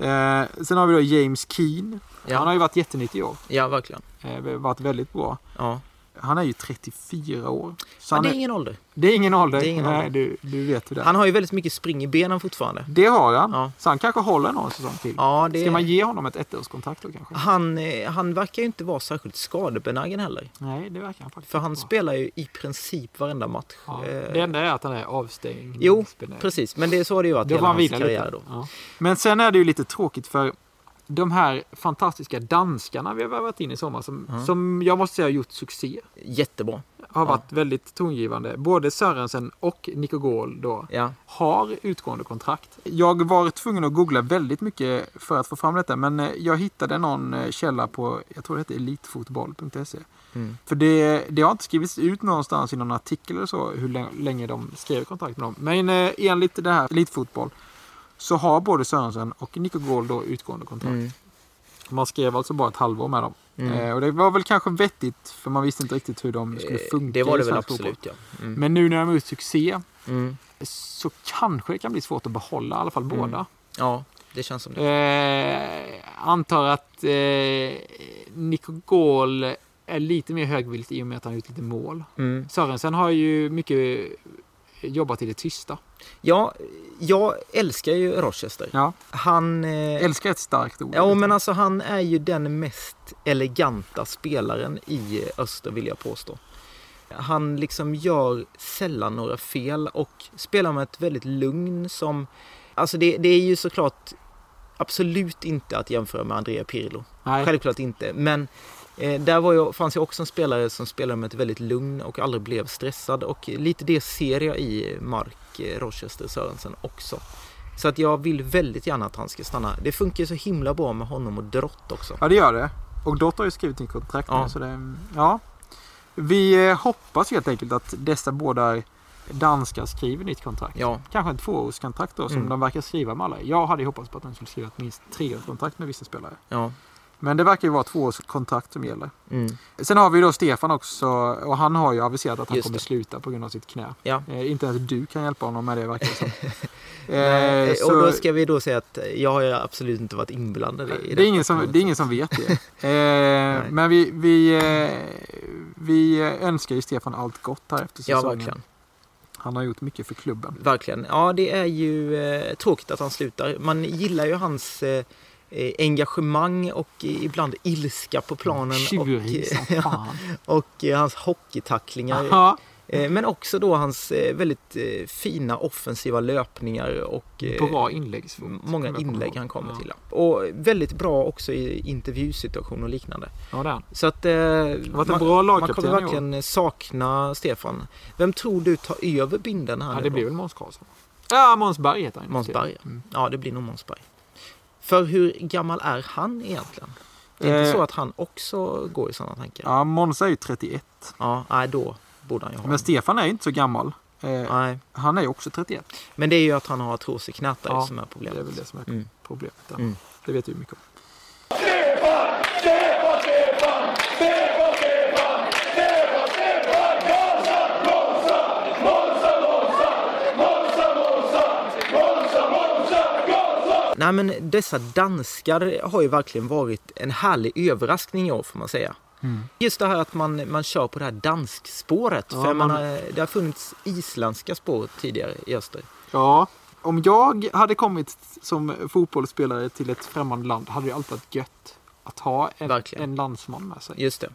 Speaker 2: Eh, sen har vi då James Keen.
Speaker 1: Ja.
Speaker 2: Han har ju varit jättenyttig i år.
Speaker 1: ja, verkligen.
Speaker 2: Eh, varit väldigt bra.
Speaker 1: Ja.
Speaker 2: Han är ju 34 år. Så
Speaker 1: Men
Speaker 2: han
Speaker 1: det
Speaker 2: är-
Speaker 1: är ingen ålder.
Speaker 2: Det är ingen ålder.
Speaker 1: Det är ingen
Speaker 2: Nej,
Speaker 1: ålder.
Speaker 2: Du, du vet hur det är.
Speaker 1: Han har ju väldigt mycket spring i benen fortfarande.
Speaker 2: Det har han.
Speaker 1: Ja.
Speaker 2: Så han kanske håller någon säsong till.
Speaker 1: Ja, det...
Speaker 2: Ska man ge honom ett ettårskontrakt då kanske?
Speaker 1: han, eh, han verkar ju inte vara särskilt skadebenägen heller.
Speaker 2: Nej, det verkar han faktiskt
Speaker 1: För han
Speaker 2: inte vara.
Speaker 1: spelar ju i princip varenda match.
Speaker 2: Ja.
Speaker 1: Eh,
Speaker 2: Det enda är att han är avstängd.
Speaker 1: Jo,
Speaker 2: Spelare.
Speaker 1: precis. Men det är så har det ju varit
Speaker 2: Då får
Speaker 1: hela
Speaker 2: han
Speaker 1: hans
Speaker 2: vila
Speaker 1: karriär
Speaker 2: lite.
Speaker 1: då.
Speaker 2: Ja. Men sen är det ju lite tråkigt för de här fantastiska danskarna vi har värvat in i sommar som,
Speaker 1: Mm.
Speaker 2: som jag måste säga har gjort succé.
Speaker 1: Jättebra.
Speaker 2: Har varit väldigt tongivande. Både Sörensen och Nico Gåhl då.
Speaker 1: Ja.
Speaker 2: har utgående kontrakt. Jag var tvungen att googla väldigt mycket för att få fram detta, men eh, jag hittade någon eh, källa på, jag tror det hette elitfotboll.se.
Speaker 1: Mm.
Speaker 2: För det, det har inte skrivits ut någonstans i någon artikel eller så, hur lä- länge de skrev kontrakt med dem. Men eh, enligt det här Elitfotboll så har både Sörensen och Nico Gåhl då utgående kontrakt.
Speaker 1: Mm.
Speaker 2: Man skrev alltså bara ett halvår med dem.
Speaker 1: Mm.
Speaker 2: Eh, och det var väl kanske vettigt, för man visste inte riktigt hur de skulle
Speaker 1: Eh,
Speaker 2: funka
Speaker 1: Det var
Speaker 2: i
Speaker 1: det väl
Speaker 2: svensk fotboll.
Speaker 1: absolut ja. Mm.
Speaker 2: Men nu när de har gjort succé
Speaker 1: Mm.
Speaker 2: så kanske det kan bli svårt att behålla i alla fall båda.
Speaker 1: Ja, det känns som det.
Speaker 2: Eh, antar att eh, Nico Gaul är lite mer högvilt i och med att han har gjort lite mål.
Speaker 1: Mm.
Speaker 2: Sörensen har ju mycket jobbat i det tysta.
Speaker 1: Ja, jag älskar ju Rochester.
Speaker 2: Ja.
Speaker 1: Han... eh,
Speaker 2: Älskar ett starkt ord.
Speaker 1: Ja, men alltså han är ju den mest eleganta spelaren i öster vill jag påstå. Han liksom gör sällan några fel och spelar med ett väldigt lugn som... Alltså det, det är ju såklart absolut inte att jämföra med Andrea Pirlo.
Speaker 2: Nej.
Speaker 1: Självklart inte, men eh, där var jag, fanns ju också en spelare som spelade med ett väldigt lugn och aldrig blev stressad och lite det ser jag i Mark eh, Rochester Sörensen också. Så att jag vill väldigt gärna att han ska stanna. Det funkar ju så himla bra med honom och Drott också.
Speaker 2: Ja, det gör det. Och Dott har ju skrivit nytt kontrakt
Speaker 1: Ja.
Speaker 2: nu, så det, ja. Vi eh, hoppas helt enkelt att dessa båda danskar skriver nytt kontrakt.
Speaker 1: Ja,
Speaker 2: Kanske en tvåårskontrakt då, som
Speaker 1: Mm.
Speaker 2: de verkar skriva med alla. Jag hade ju hoppats på att de skulle skriva ett minst treårskontrakt med vissa spelare.
Speaker 1: ja.
Speaker 2: Men det verkar ju vara tvåårskontrakt som gäller.
Speaker 1: Mm.
Speaker 2: Sen har vi ju då Stefan också och han har ju aviserat att han
Speaker 1: Just
Speaker 2: kommer
Speaker 1: det.
Speaker 2: sluta på grund av sitt knä.
Speaker 1: ja.
Speaker 2: Eh, inte ens du kan hjälpa honom med det verkar det som.
Speaker 1: Eh,
Speaker 2: eh,
Speaker 1: Och
Speaker 2: så
Speaker 1: då ska vi då säga att jag har ju absolut inte varit inblandad i i
Speaker 2: det,
Speaker 1: detta
Speaker 2: är ingen
Speaker 1: på
Speaker 2: som,
Speaker 1: något
Speaker 2: det är ingen
Speaker 1: sätt.
Speaker 2: som vet det. Eh, men vi, vi, eh, vi önskar ju Stefan allt gott här efter
Speaker 1: Ja,
Speaker 2: säsongen.
Speaker 1: verkligen.
Speaker 2: han har gjort mycket för klubben.
Speaker 1: Verkligen. Ja, det är ju eh, tråkigt att han slutar. Man gillar ju hans eh, eh, engagemang och eh, ibland ilska på planen.
Speaker 2: Tjurig
Speaker 1: Och,
Speaker 2: som fan.
Speaker 1: och eh, hans hockeytacklingar.
Speaker 2: Aha,
Speaker 1: Eh, men också då hans eh, väldigt eh, fina offensiva löpningar och eh,
Speaker 2: bra inläggsfot.
Speaker 1: många
Speaker 2: som jag kommer
Speaker 1: inlägg
Speaker 2: ihåg.
Speaker 1: han kommer
Speaker 2: ja.
Speaker 1: till. Och väldigt bra också i intervjusituationer och liknande.
Speaker 2: Ja, det är han.
Speaker 1: Så att eh,
Speaker 2: har varit en
Speaker 1: man,
Speaker 2: bra
Speaker 1: man
Speaker 2: lagkapten
Speaker 1: kommer
Speaker 2: i år.
Speaker 1: verkligen sakna Stefan. Vem tror du tar över binden här
Speaker 2: Ja,
Speaker 1: nu
Speaker 2: det
Speaker 1: då?
Speaker 2: blir väl Måns Karlsson. Ja, Måns Berg heter han. ju.
Speaker 1: Måns Berg, ja.
Speaker 2: Mm.
Speaker 1: ja. det blir nog Måns Berg. För hur gammal är han egentligen? Det är inte
Speaker 2: Eh.
Speaker 1: så att han också går i sådana tankar?
Speaker 2: Ja, Måns är ju 31.
Speaker 1: Ja, nej, då borde han ju ha
Speaker 2: Men
Speaker 1: en.
Speaker 2: Stefan är ju inte så gammal. Eh,
Speaker 1: Nej.
Speaker 2: han är ju också 31.
Speaker 1: Men det är ju att han har artroseknät där
Speaker 2: Ja,
Speaker 1: som är
Speaker 2: Det är
Speaker 1: problemet.
Speaker 2: väl det som är
Speaker 3: Mm.
Speaker 2: problemet. Där.
Speaker 3: Mm.
Speaker 2: Det vet du mycket om.
Speaker 1: Nej men dessa danskar har ju verkligen varit en härlig överraskning i år får man säga. Just det här att man, man kör på det här danskspåret.
Speaker 2: Mm. Ja,
Speaker 1: för man
Speaker 2: man-
Speaker 1: har, det har funnits isländska spår tidigare i öster.
Speaker 2: Ja, om jag hade kommit som fotbollsspelare till ett främmande land hade det alltid varit gött att ha en,
Speaker 1: Verkligen.
Speaker 2: en landsman med sig.
Speaker 1: Just det.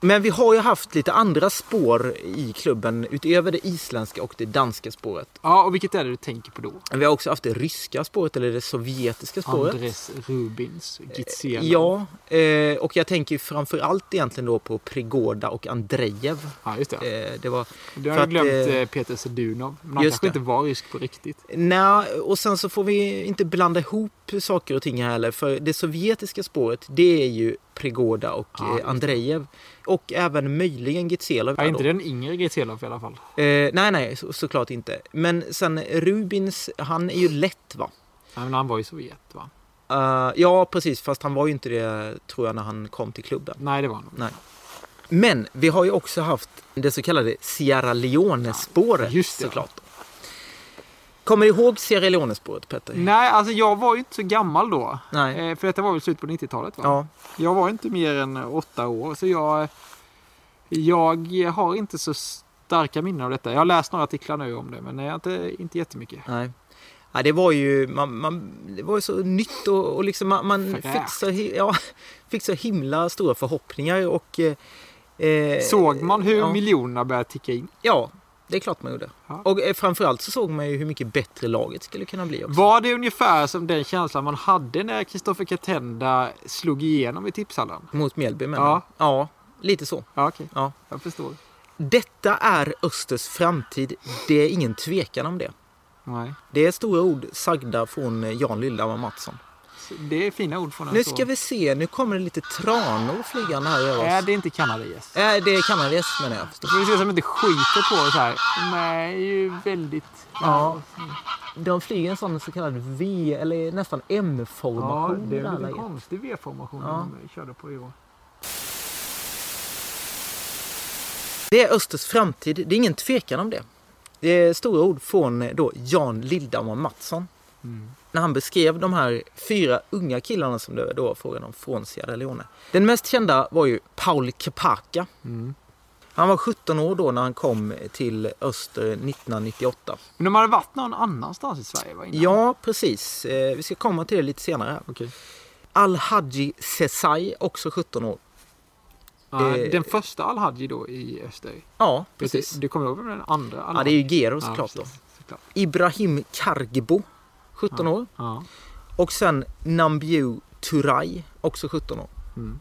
Speaker 1: Men vi har ju haft lite andra spår i klubben utöver det isländska och det danska spåret.
Speaker 2: Ja, och vilket är det du tänker på då?
Speaker 1: Vi har också haft det ryska spåret eller det sovjetiska spåret.
Speaker 2: Andres Rubins, Gizena.
Speaker 1: Ja, eh, och jag tänker ju framför allt egentligen då på Prigoda och Andrejev.
Speaker 2: Ja, just det.
Speaker 1: Eh, det var...
Speaker 2: Du
Speaker 1: för
Speaker 2: har
Speaker 1: att,
Speaker 2: jag glömt
Speaker 1: eh,
Speaker 2: eh, Peter Sedunov. Men han
Speaker 1: just
Speaker 2: kanske
Speaker 1: det.
Speaker 2: inte var rysk på riktigt.
Speaker 1: Nej, och sen så får vi inte blanda ihop saker och ting här heller. För det sovjetiska spåret, det är ju Prigoda och
Speaker 2: Ja, just
Speaker 1: eh, Andrejev. Och även möjligen Gitselov.
Speaker 2: Ja,
Speaker 1: här
Speaker 2: inte
Speaker 1: då.
Speaker 2: den yngre Gitselov i alla fall.
Speaker 1: Eh, nej, nej, så, såklart inte. Men sen Rubins, han är ju lätt va?
Speaker 2: Nej, men han var i Sovjet, va?
Speaker 1: Eh, ja, precis, fast han var ju inte det tror jag när han kom till klubben.
Speaker 2: Nej, det var han nog.
Speaker 1: Nej. Men vi har ju också haft det så kallade Sierra Leone-spåret
Speaker 2: Ja, just det.
Speaker 1: såklart. Kommer du ihåg Sierra Leone-spåret Petter?
Speaker 2: Nej, alltså jag var ju inte så gammal då.
Speaker 1: Nej.
Speaker 2: Eh, För detta var väl slut på 90-talet, va?
Speaker 1: Ja,
Speaker 2: Jag var inte mer än åtta år, så jag, jag har inte så starka minnen av detta. Jag har läst några artiklar nu om det, men nej, inte, inte jättemycket.
Speaker 1: nej. Ja, det var ju, man, man, det var ju så nytt och, och liksom man, man
Speaker 2: Fräckt.
Speaker 1: fick, så, hi- ja, fick så himla stora förhoppningar och... eh, eh,
Speaker 2: Såg man hur
Speaker 1: ja.
Speaker 2: miljonerna började ticka in?
Speaker 1: Ja, det är klart man gjorde.
Speaker 2: Ja.
Speaker 1: Och eh, framförallt så såg man ju hur mycket bättre laget skulle kunna bli också.
Speaker 2: Var det ungefär som den känslan man hade när Kristoffer Katenda slog igenom i tipshallen?
Speaker 1: Mot Mjällby menar
Speaker 2: Ja.
Speaker 1: jag. Ja, lite så.
Speaker 2: Ja, okej.
Speaker 1: Ja.
Speaker 2: Jag förstår.
Speaker 1: Detta är Östers framtid. Det är ingen tvekan om det.
Speaker 2: Nej.
Speaker 1: Det är stora ord sagda från eh, Jan Lildhammar Mattsson.
Speaker 2: Så Det är fina ord från en
Speaker 1: Nu
Speaker 2: så-
Speaker 1: ska vi se, nu kommer det lite tranor flygande här över
Speaker 2: Är
Speaker 1: oss.
Speaker 2: det inte kanadagäss?
Speaker 1: Nej, det är kanadagäss menar jag förstås.
Speaker 2: Får vi se som inte skiter på oss här. Nej, det är ju väldigt...
Speaker 1: Ja. De flyger en sån så kallad V, eller nästan
Speaker 2: Ja,
Speaker 1: M-formation.
Speaker 2: det är
Speaker 1: där
Speaker 2: en lite
Speaker 1: läget.
Speaker 2: konstig V-formation
Speaker 1: Ja.
Speaker 2: de körde på i år.
Speaker 1: Det är Östers framtid, det är ingen tvekan om det. Det är stora ord från eh, då Jan Lildhammar Mattsson. När han beskrev de här fyra unga killarna som det då var frågan om från Sierra Leone. Den mest kända var ju Paul Kepaka. Han var 17 år då när han kom till Öster 1998.
Speaker 2: Men de hade varit någon annanstans i Sverige va? Innan?
Speaker 1: Ja, precis. Eh, Vi ska komma till det lite senare. här.
Speaker 2: Okej.
Speaker 1: Al-Haji Sesai, också 17 år.
Speaker 2: Ja,
Speaker 1: Eh,
Speaker 2: den första Al-Hadi då i Öster.
Speaker 1: Ja,
Speaker 2: Precis.
Speaker 1: precis.
Speaker 2: Du, kommer ihåg vem den andra
Speaker 1: Ja, det är ju Gero såklart då.
Speaker 2: precis. Såklart.
Speaker 1: Ibrahim Kargbo, 17 år.
Speaker 2: Ja.
Speaker 1: Och sen Nambiu Turay, också 17 år.
Speaker 2: Mm.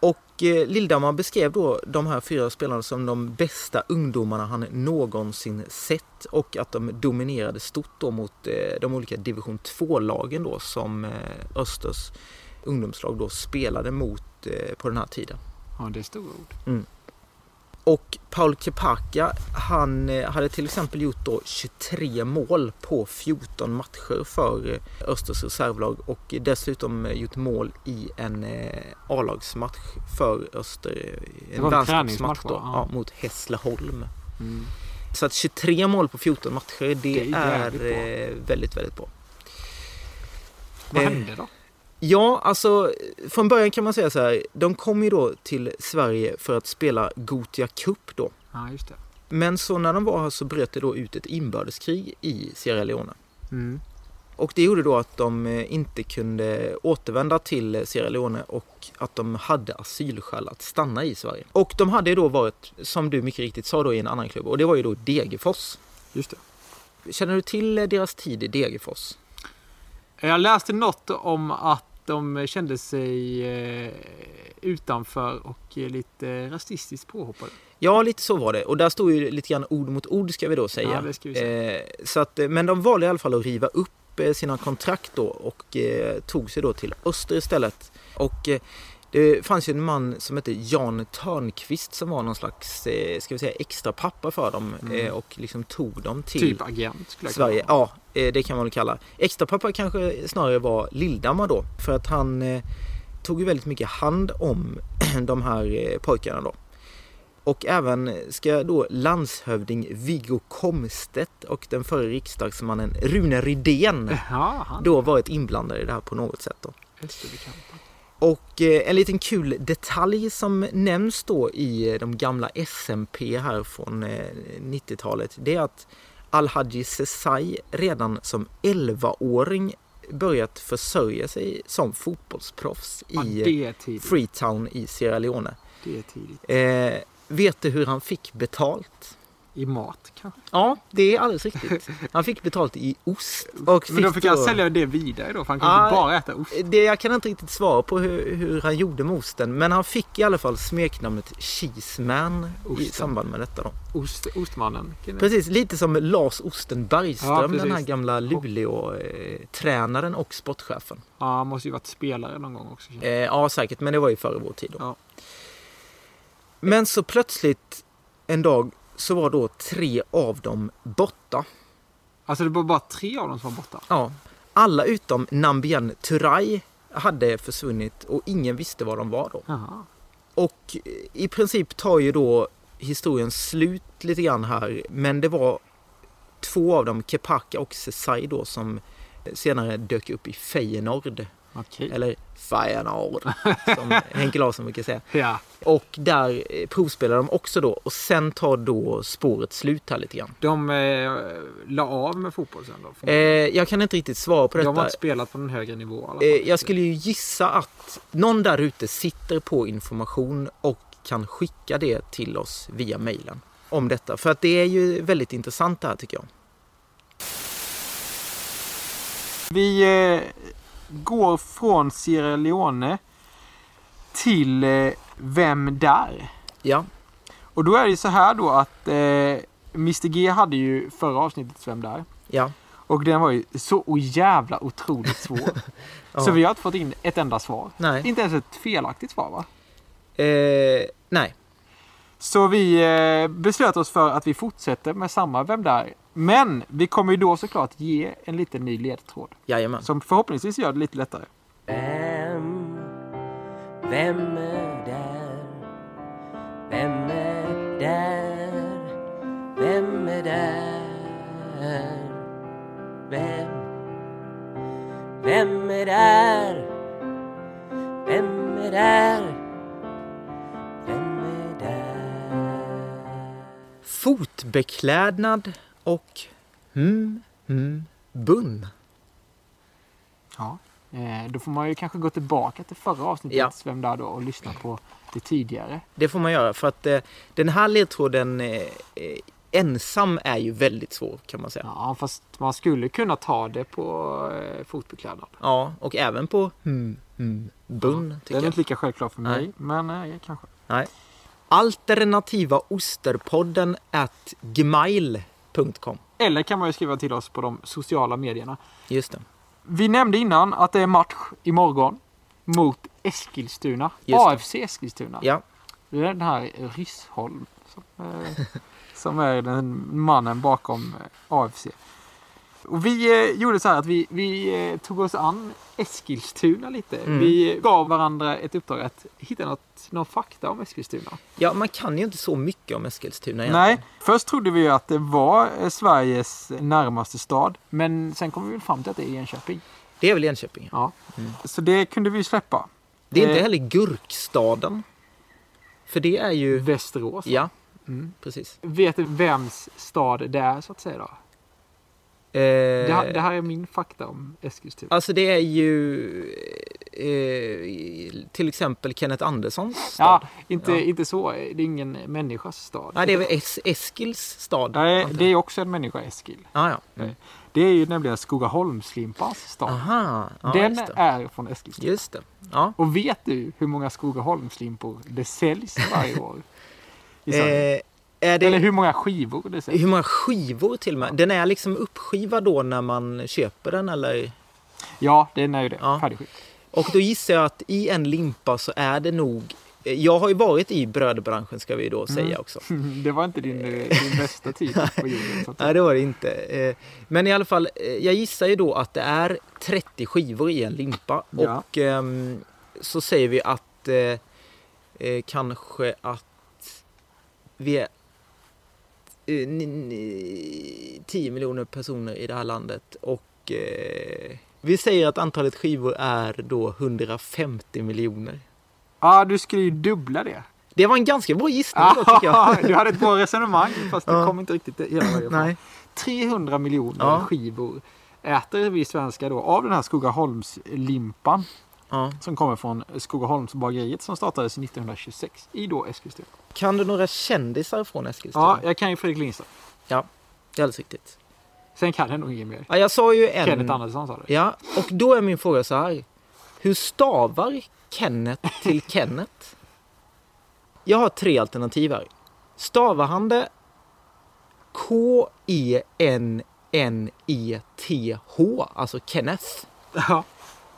Speaker 1: Och eh, Lildhammar beskrev då de här fyra spelarna som de bästa ungdomarna han någonsin sett och att de dominerade stort då mot eh, de olika division 2-lagen då som eh, Östers ungdomslag då spelade mot eh, på den här tiden.
Speaker 2: ja, det är stora ord.
Speaker 1: Och Paul Kepaka, han eh, hade till exempel gjort då 23 mål på 14 matcher för eh, Östers reservlag och dessutom eh, gjort mål i en eh, A-lagsmatch för Öster. eh,
Speaker 2: var en
Speaker 1: vänskapsmatch
Speaker 2: träningsmatch, va?
Speaker 1: då,
Speaker 2: Ja.
Speaker 1: ja, mot Hässleholm.
Speaker 2: Mm.
Speaker 1: Så att 23 mål på 14 matcher, det,
Speaker 2: Det är jävligt
Speaker 1: är eh, väldigt, väldigt bra.
Speaker 2: Vad
Speaker 1: Eh,
Speaker 2: hände då?
Speaker 1: Ja, alltså från början kan man säga så här. De kom ju då till Sverige för att spela Gotia Cup då.
Speaker 2: Ja, just det.
Speaker 1: Men så när de var här så bröt det då ut ett inbördeskrig i Sierra Leone.
Speaker 2: Mm.
Speaker 1: Och det gjorde då att de eh, inte kunde återvända till eh, Sierra Leone och att de hade asylskäl att stanna i Sverige. Och de hade ju då varit, som du mycket riktigt sa då, i en annan klubb och det var ju då Degerfors.
Speaker 2: Just det.
Speaker 1: Känner du till eh, deras tid i Degerfors?
Speaker 2: Jag läste något om att de kände sig eh, utanför och eh, lite rasistiskt påhoppade.
Speaker 1: Ja, lite så var det. Och där stod ju lite grann ord mot ord ska vi då säga.
Speaker 2: Ja, det ska vi säga.
Speaker 1: Eh, så att, eh, men de valde i alla fall att riva upp eh, sina kontrakt då och eh, tog sig då till öster istället. Och eh, Det fanns ju en man som hette Jan Törnqvist som var någon slags, eh, ska vi säga, extra pappa för dem
Speaker 2: Mm.
Speaker 1: eh, och liksom tog dem till
Speaker 2: Typ agent skulle jag kunna
Speaker 1: Sverige.
Speaker 2: vara.
Speaker 1: Ja, eh, det kan man väl kalla. Extra pappa kanske snarare var Lildamma då, för att han eh, tog ju väldigt mycket hand om de här eh, pojkarna då. Och även ska då landshövding Viggo Komstedt och den förre riksdagsmannen Rune Rydén
Speaker 2: Jaha, han
Speaker 1: då varit inblandade i det här på något sätt. Då.
Speaker 2: Österbekanta.
Speaker 1: Och eh, en liten kul detalj som nämns då i eh, de gamla SMP här från eh, 90-talet, det är att Alhaji Sesai redan som 11-åring börjat försörja sig som fotbollsproffs
Speaker 2: Ja,
Speaker 1: i eh,
Speaker 2: det är tidigt.
Speaker 1: Freetown i Sierra Leone.
Speaker 2: Det är tidigt.
Speaker 1: Eh, vet du hur han fick betalt?
Speaker 2: I mat kanske.
Speaker 1: Ja, det är alldeles riktigt. Han fick betalt i ost. Och Ah,
Speaker 2: Men då fick han sälja det vidare då, för han kunde
Speaker 1: Ja.
Speaker 2: inte bara äta ost.
Speaker 1: Det, jag kan inte riktigt svara på hur, hur han gjorde med osten, men han fick i alla fall smeknamnet Cheeseman i
Speaker 2: Osten.
Speaker 1: samband med detta. Då.
Speaker 2: ost ostmannen.
Speaker 1: Precis, lite som Lars Osten
Speaker 2: Ja,
Speaker 1: Bergström,
Speaker 2: precis.
Speaker 1: den här gamla Luleå-tränaren och sportchefen.
Speaker 2: Ja, han måste ju varit spelare någon gång också.
Speaker 1: Eh, ja, säkert, men det var ju före vår tid. Då.
Speaker 2: Ja.
Speaker 1: Men så plötsligt en dag så var då tre av dem borta.
Speaker 2: Alltså det var bara tre av dem som var borta.
Speaker 1: Ja. Alla utom Nambian Turay hade försvunnit och ingen visste var de var då.
Speaker 2: Jaha.
Speaker 1: Och i princip tar ju då historien slut lite grann här. Men det var två av dem, Kepaka och Sesai då, som senare dök upp i Feyenoord.
Speaker 2: Okej.
Speaker 1: Eller Feyenoord, som Henke Larsson brukar säga.
Speaker 2: Ja.
Speaker 1: Och där eh, provspelar de också då. Och sen tar då spåret slut här lite grann.
Speaker 2: De eh, la av med fotboll sen då?
Speaker 1: Eh, jag kan inte riktigt svara på
Speaker 2: De har
Speaker 1: detta.
Speaker 2: inte spelat på någon högre nivå i alla fall.
Speaker 1: Eh, jag skulle ju gissa att någon där ute sitter på information och kan skicka det till oss via mejlen om detta. För att det är ju väldigt intressant det här tycker jag.
Speaker 2: Vi eh, går från Sierra Leone till eh, Vem där?
Speaker 1: Ja,
Speaker 2: Och då är det ju så här då att eh, Mr G hade ju förra avsnittet Vem där?
Speaker 1: ja.
Speaker 2: Och den var ju så o jävla otroligt svår.
Speaker 1: ja.
Speaker 2: Så vi har inte fått in ett enda svar.
Speaker 1: Nej.
Speaker 2: Inte ens ett felaktigt svar va?
Speaker 1: Eh, nej.
Speaker 2: Så vi eh, beslöt oss för att vi fortsätter med samma Vem där? Men vi kommer ju då såklart ge en liten ny ledtråd.
Speaker 1: Jajamän.
Speaker 2: Som förhoppningsvis gör det lite lättare.
Speaker 4: Vem? Vem är där? Vem är där? Vem är där? Vem? Vem är där? Vem är där? Vem är där?
Speaker 1: Fotbeklädnad och mm, mm, bunn.
Speaker 2: Ja. Eh, då får man ju kanske gå tillbaka till förra avsnittet,
Speaker 1: Ja.
Speaker 2: Vem där då, och lyssna på det tidigare.
Speaker 1: Det får man göra för att eh, den här ledtråden eh, eh, ensam är ju väldigt svår kan man säga.
Speaker 2: Ja, fast man skulle kunna ta det på eh, fotbeklädnad.
Speaker 1: Ja, och även på mm, mm, bunn
Speaker 2: Det är
Speaker 1: tycker jag.
Speaker 2: inte lika självklart för mig,
Speaker 1: Nej.
Speaker 2: men eh, kanske.
Speaker 1: Nej. Alternativa osterpodden at gmail.com.
Speaker 2: Eller kan man ju skriva till oss på de sociala medierna.
Speaker 1: Just det.
Speaker 2: Vi nämnde innan att det är match imorgon mot Eskilstuna.
Speaker 1: Just det.
Speaker 2: AFC Eskilstuna.
Speaker 1: Ja,
Speaker 2: Det är den här Ryssholm som, eh, som är den mannen bakom eh, AFC. Och vi eh, gjorde så här att vi, vi eh, tog oss an Eskilstuna lite.
Speaker 1: Mm.
Speaker 2: Vi gav varandra ett uppdrag att hitta något, någon fakta om Eskilstuna.
Speaker 1: ja, man kan ju inte så mycket om Eskilstuna egentligen.
Speaker 2: Nej, först trodde vi ju att det var eh, Sveriges närmaste stad. Men sen kom vi väl fram till att det är Enköping.
Speaker 1: Det är väl Enköping.
Speaker 2: Ja.
Speaker 1: Mm.
Speaker 2: Så det kunde vi ju släppa.
Speaker 1: Det är inte
Speaker 2: Eh.
Speaker 1: heller Gurkstaden. För det är ju...
Speaker 2: Västerås.
Speaker 1: Ja,
Speaker 2: Mm.
Speaker 1: precis.
Speaker 2: Vet du vems stad det är så att säga då? Det här, det
Speaker 1: Eh,
Speaker 2: här är min fakta om Eskilstuna.
Speaker 1: alltså det är ju eh, till exempel Kenneth Anderssons stad.
Speaker 2: Ja, inte,
Speaker 1: Ja.
Speaker 2: inte så. Det är ingen människas stad.
Speaker 1: Nej, det är väl es- Eskils stad.
Speaker 2: Nej,
Speaker 1: antar
Speaker 2: det
Speaker 1: jag.
Speaker 2: är också en människa, Eskil.
Speaker 1: Ah, ja.
Speaker 2: Det är ju nämligen Skogaholmslimpans stad.
Speaker 1: Aha, ja,
Speaker 2: Den
Speaker 1: just det.
Speaker 2: är från Eskilstuna.
Speaker 1: Just det. Ja.
Speaker 2: Och vet du hur många Skogaholmslimpor det säljs varje år? I Sverige?
Speaker 1: Eh, är det...
Speaker 2: Eller hur många skivor det säljs?
Speaker 1: Hur många skivor till och med? Den är liksom uppskivad då när man köper den eller?
Speaker 2: Ja, den är ju det.
Speaker 1: Ja.
Speaker 2: Färdigskick.
Speaker 1: Och då gissar jag att i en limpa så är det nog... eh, Jag har ju varit i brödbranschen ska vi då säga också.
Speaker 2: Det var inte din, eh, din bästa tid på jorden. Så att,
Speaker 1: Nej, det var det inte. Eh, Men i alla fall, eh, jag gissar ju då att det är 30 skivor i en limpa.
Speaker 2: Ja.
Speaker 1: Och ehm, så säger vi att eh, eh, kanske att vi är eh, ni- ni- 10 miljoner personer i det här landet. Och eh, vi säger att antalet skivor är då 150 miljoner.
Speaker 2: Ja, du skulle ju dubbla det.
Speaker 1: Det var en ganska bra gissning då tycker
Speaker 2: Ah,
Speaker 1: jag.
Speaker 2: du hade ett bra resonemang, fast det
Speaker 1: Ja.
Speaker 2: kom inte riktigt hela vägen fram.
Speaker 1: Nej.
Speaker 2: 300 miljoner
Speaker 1: Ja.
Speaker 2: skivor äter vi svenskar då av den här Skogaholmslimpan
Speaker 1: Ja.
Speaker 2: som kommer från Skogaholmsbageriet som startades 1926 i då Eskilstuna.
Speaker 1: Kan du några kändisar från Eskilstuna?
Speaker 2: Ja, jag kan ju Fredrik Lindström.
Speaker 1: Ja, det är alldeles riktigt.
Speaker 2: Sen kan jag nog inget mer.
Speaker 1: Ja, jag sa ju en...
Speaker 2: Kenneth Andersson sa det.
Speaker 1: Ja, och då är min fråga så här. Hur stavar Kenneth till Kenneth? Jag har tre alternativ här. Stavar han det E K-E-N-N-E-T-H, E alltså Kenneth?
Speaker 2: Ja. Mm.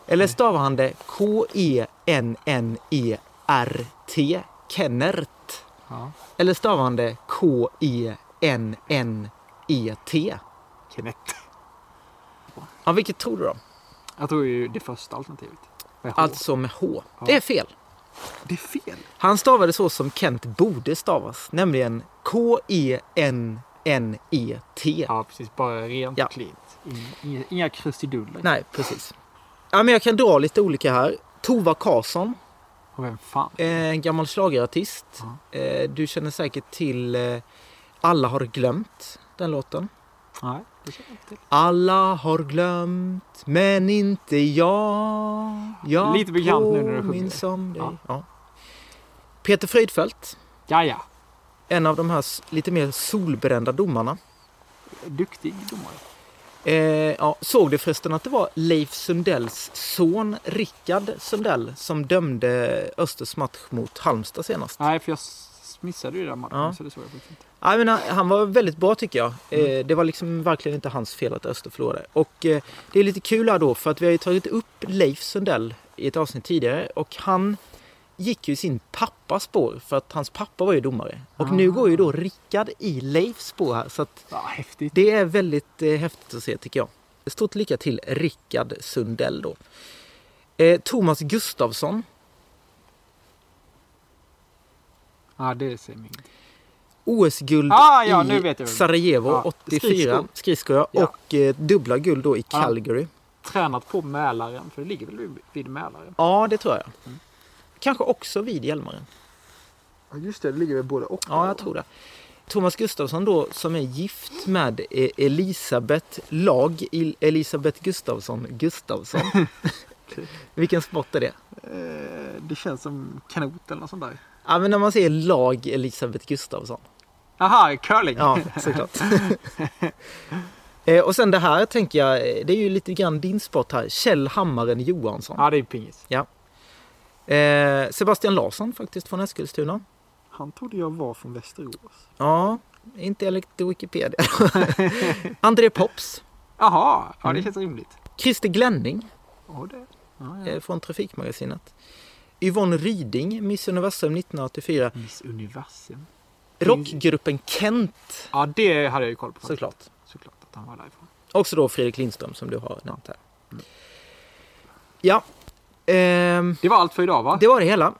Speaker 1: Eller stavar han det E K-E-N-N-E-R-T, Kennert?
Speaker 2: Ja.
Speaker 1: Eller stavar han det E K-E-N-N-E-T?
Speaker 2: Kenneth.
Speaker 1: E Ja, vilket tror du då?
Speaker 2: Jag tror ju det första alternativet. Med H.
Speaker 1: Alltså med H. Det är fel.
Speaker 2: det är fel.
Speaker 1: Han stavade så som Kent borde stavas, nämligen E K-E-N-N-E-T.
Speaker 2: Ja, precis. Bara rent
Speaker 1: Ja.
Speaker 2: cleant. In- Inga, inga krusiduller.
Speaker 1: Nej, precis. Ja, men jag kan dra lite olika här. Tova Karlsson,
Speaker 2: Och vem fan?
Speaker 1: eh, en gammal schlagerartist. Eh, Du känner säkert till eh, Alla har glömt, den låten.
Speaker 2: Nej, det känner jag inte till.
Speaker 1: Alla har glömt, men inte jag. jag
Speaker 2: Lite bekant nu när du sjunger.
Speaker 1: påminns om dig.
Speaker 2: Ja.
Speaker 1: Ja. Peter Fröjdfeldt,
Speaker 2: Ja, ja.
Speaker 1: en av de här s- lite mer solbrända domarna.
Speaker 2: Duktig domare.
Speaker 1: Eh, ja, såg du förresten att det var Leif Sundells son Rickard Sundell som dömde Östers match mot Halmstad senast?
Speaker 2: Nej, för jag s- missade ju den matchen.
Speaker 1: Ja.
Speaker 2: Så det såg jag faktiskt inte.
Speaker 1: Ja, men han, han var väldigt bra tycker jag. Eh, det var liksom verkligen inte hans fel att Öster förlorade. Och eh, det är lite kul här då för att vi har ju tagit upp Leif Sundell i ett avsnitt tidigare och han gick ju sin pappas spår för att hans pappa var ju domare. Och nu går ju då Rickard i Leifs spår här så att
Speaker 2: Ja, häftigt.
Speaker 1: Det är väldigt eh, häftigt att se tycker jag. Stort lycka till Rickard Sundell då. Eh, Thomas Gustafsson,
Speaker 2: Ja, det säger mig ingenting.
Speaker 1: OS-guld
Speaker 2: Ah, ja, nu vet
Speaker 1: i
Speaker 2: jag.
Speaker 1: Sarajevo
Speaker 2: Ja,
Speaker 1: 84,
Speaker 2: skridskor.
Speaker 1: skridskor ja.
Speaker 2: Ja.
Speaker 1: och eh, dubbla guld då i
Speaker 2: Ja.
Speaker 1: Calgary.
Speaker 2: Tränat på Mälaren, för det ligger väl vid- vid Mälaren?
Speaker 1: Ja, det tror jag.
Speaker 2: Mm.
Speaker 1: Kanske också vid Hjälmaren.
Speaker 2: Ja, just det. Det ligger vid både och.
Speaker 1: Ja, jag tror det. Thomas Gustafsson då som är gift med eh, Elisabeth Lag, Il- Elisabeth Gustafsson Gustafsson. Vilken sport är det?
Speaker 2: Eh, det känns som kanot eller något sånt där.
Speaker 1: Ja, men när man säger Lag Elisabeth Gustafsson.
Speaker 2: Aha, curling!
Speaker 1: Ja, såklart. Eh, och sen det här tänker jag, eh, det är ju lite grann din sport här. Kjell Hammaren Johansson.
Speaker 2: Ja, det är pingis.
Speaker 1: Eh, Sebastian Larsson faktiskt från Eskilstuna.
Speaker 2: Han trodde jag var från Västerås.
Speaker 1: Ja, inte enligt Wikipedia. André Pops.
Speaker 2: Jaha, ja det
Speaker 1: Mm.
Speaker 2: känns rimligt.
Speaker 1: Christer Glenning
Speaker 2: Ja, det. Ja, ja.
Speaker 1: eh, från Trafikmagasinet. Yvonne Ryding, Miss Universum 1984.
Speaker 2: Miss Universum.
Speaker 1: Rockgruppen Kent,
Speaker 2: Ja, det hade jag ju koll på.
Speaker 1: såklart.
Speaker 2: Såklart att han var därifrån.
Speaker 1: Också då Fredrik Lindström som du har nämnt här. Ja, ehm,
Speaker 2: Det var allt för idag va?
Speaker 1: det var det hela.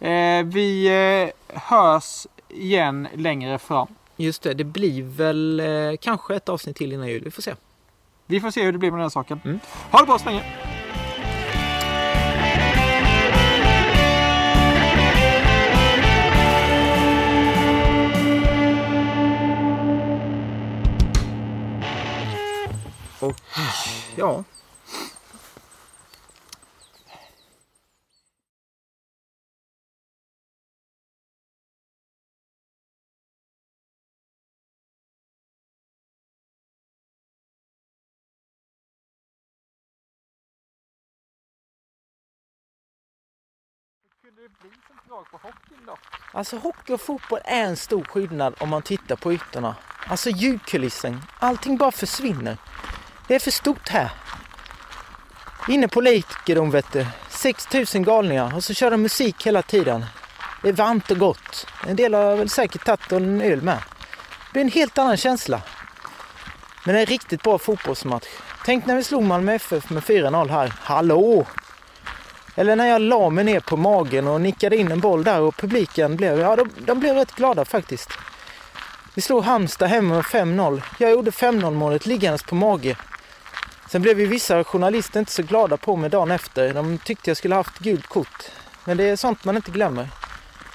Speaker 2: Eh, vi eh, hörs igen längre fram.
Speaker 1: Just det, det blir väl eh, kanske ett avsnitt till innan jul. Vi får se.
Speaker 2: Vi får se hur det blir med den här saken.
Speaker 1: Mm.
Speaker 2: Ha det bra så länge!
Speaker 1: Ja.
Speaker 2: Skulle det bli som drag på hockeyn då?
Speaker 3: Alltså hockey och fotboll är en stor skillnad om man tittar på ytorna. Alltså ljudkulissen, allting bara försvinner. Det är för stort här. Inne politiker de vet du,
Speaker 1: 6000 galningar och så kör de musik hela tiden. Det är varmt och gott. En del har väl säkert tagit en öl med. Det blir en helt annan känsla. Men det är en riktigt bra fotbollsmatch. Tänk när vi slog Malmö FF med 4-0 här. Hallå! Eller när jag la mig ner på magen och nickade in en boll där och publiken blev, ja, de, de blev rätt glada faktiskt. Vi slog Halmstad hemma med 5-0. Jag gjorde 5-0 målet liggandes på mage. Sen blev ju vissa journalister inte så glada på mig dagen efter. De tyckte jag skulle haft gult kort. Men det är sånt man inte glömmer.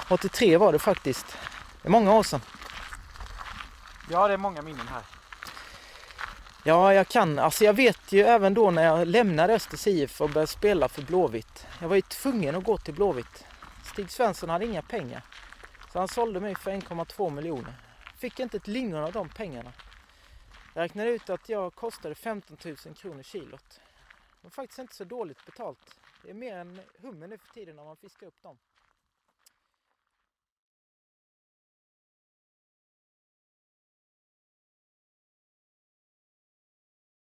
Speaker 1: 83 var det faktiskt. Det är många år sedan.
Speaker 2: Ja, det är många minnen här.
Speaker 1: Ja, jag kan. Alltså jag vet ju även då när jag lämnade Östers IF och började spela för Blåvitt. Jag var ju tvungen att gå till Blåvitt. Stig Svensson hade inga pengar. Så han sålde mig för 1,2 miljoner. Fick inte ett lingon av de pengarna. Jag räknade ut att jag kostade 15 000 kronor kilot. Det var faktiskt inte så dåligt betalt. Det är mer än hummer nu för tiden när man fiskar upp dem.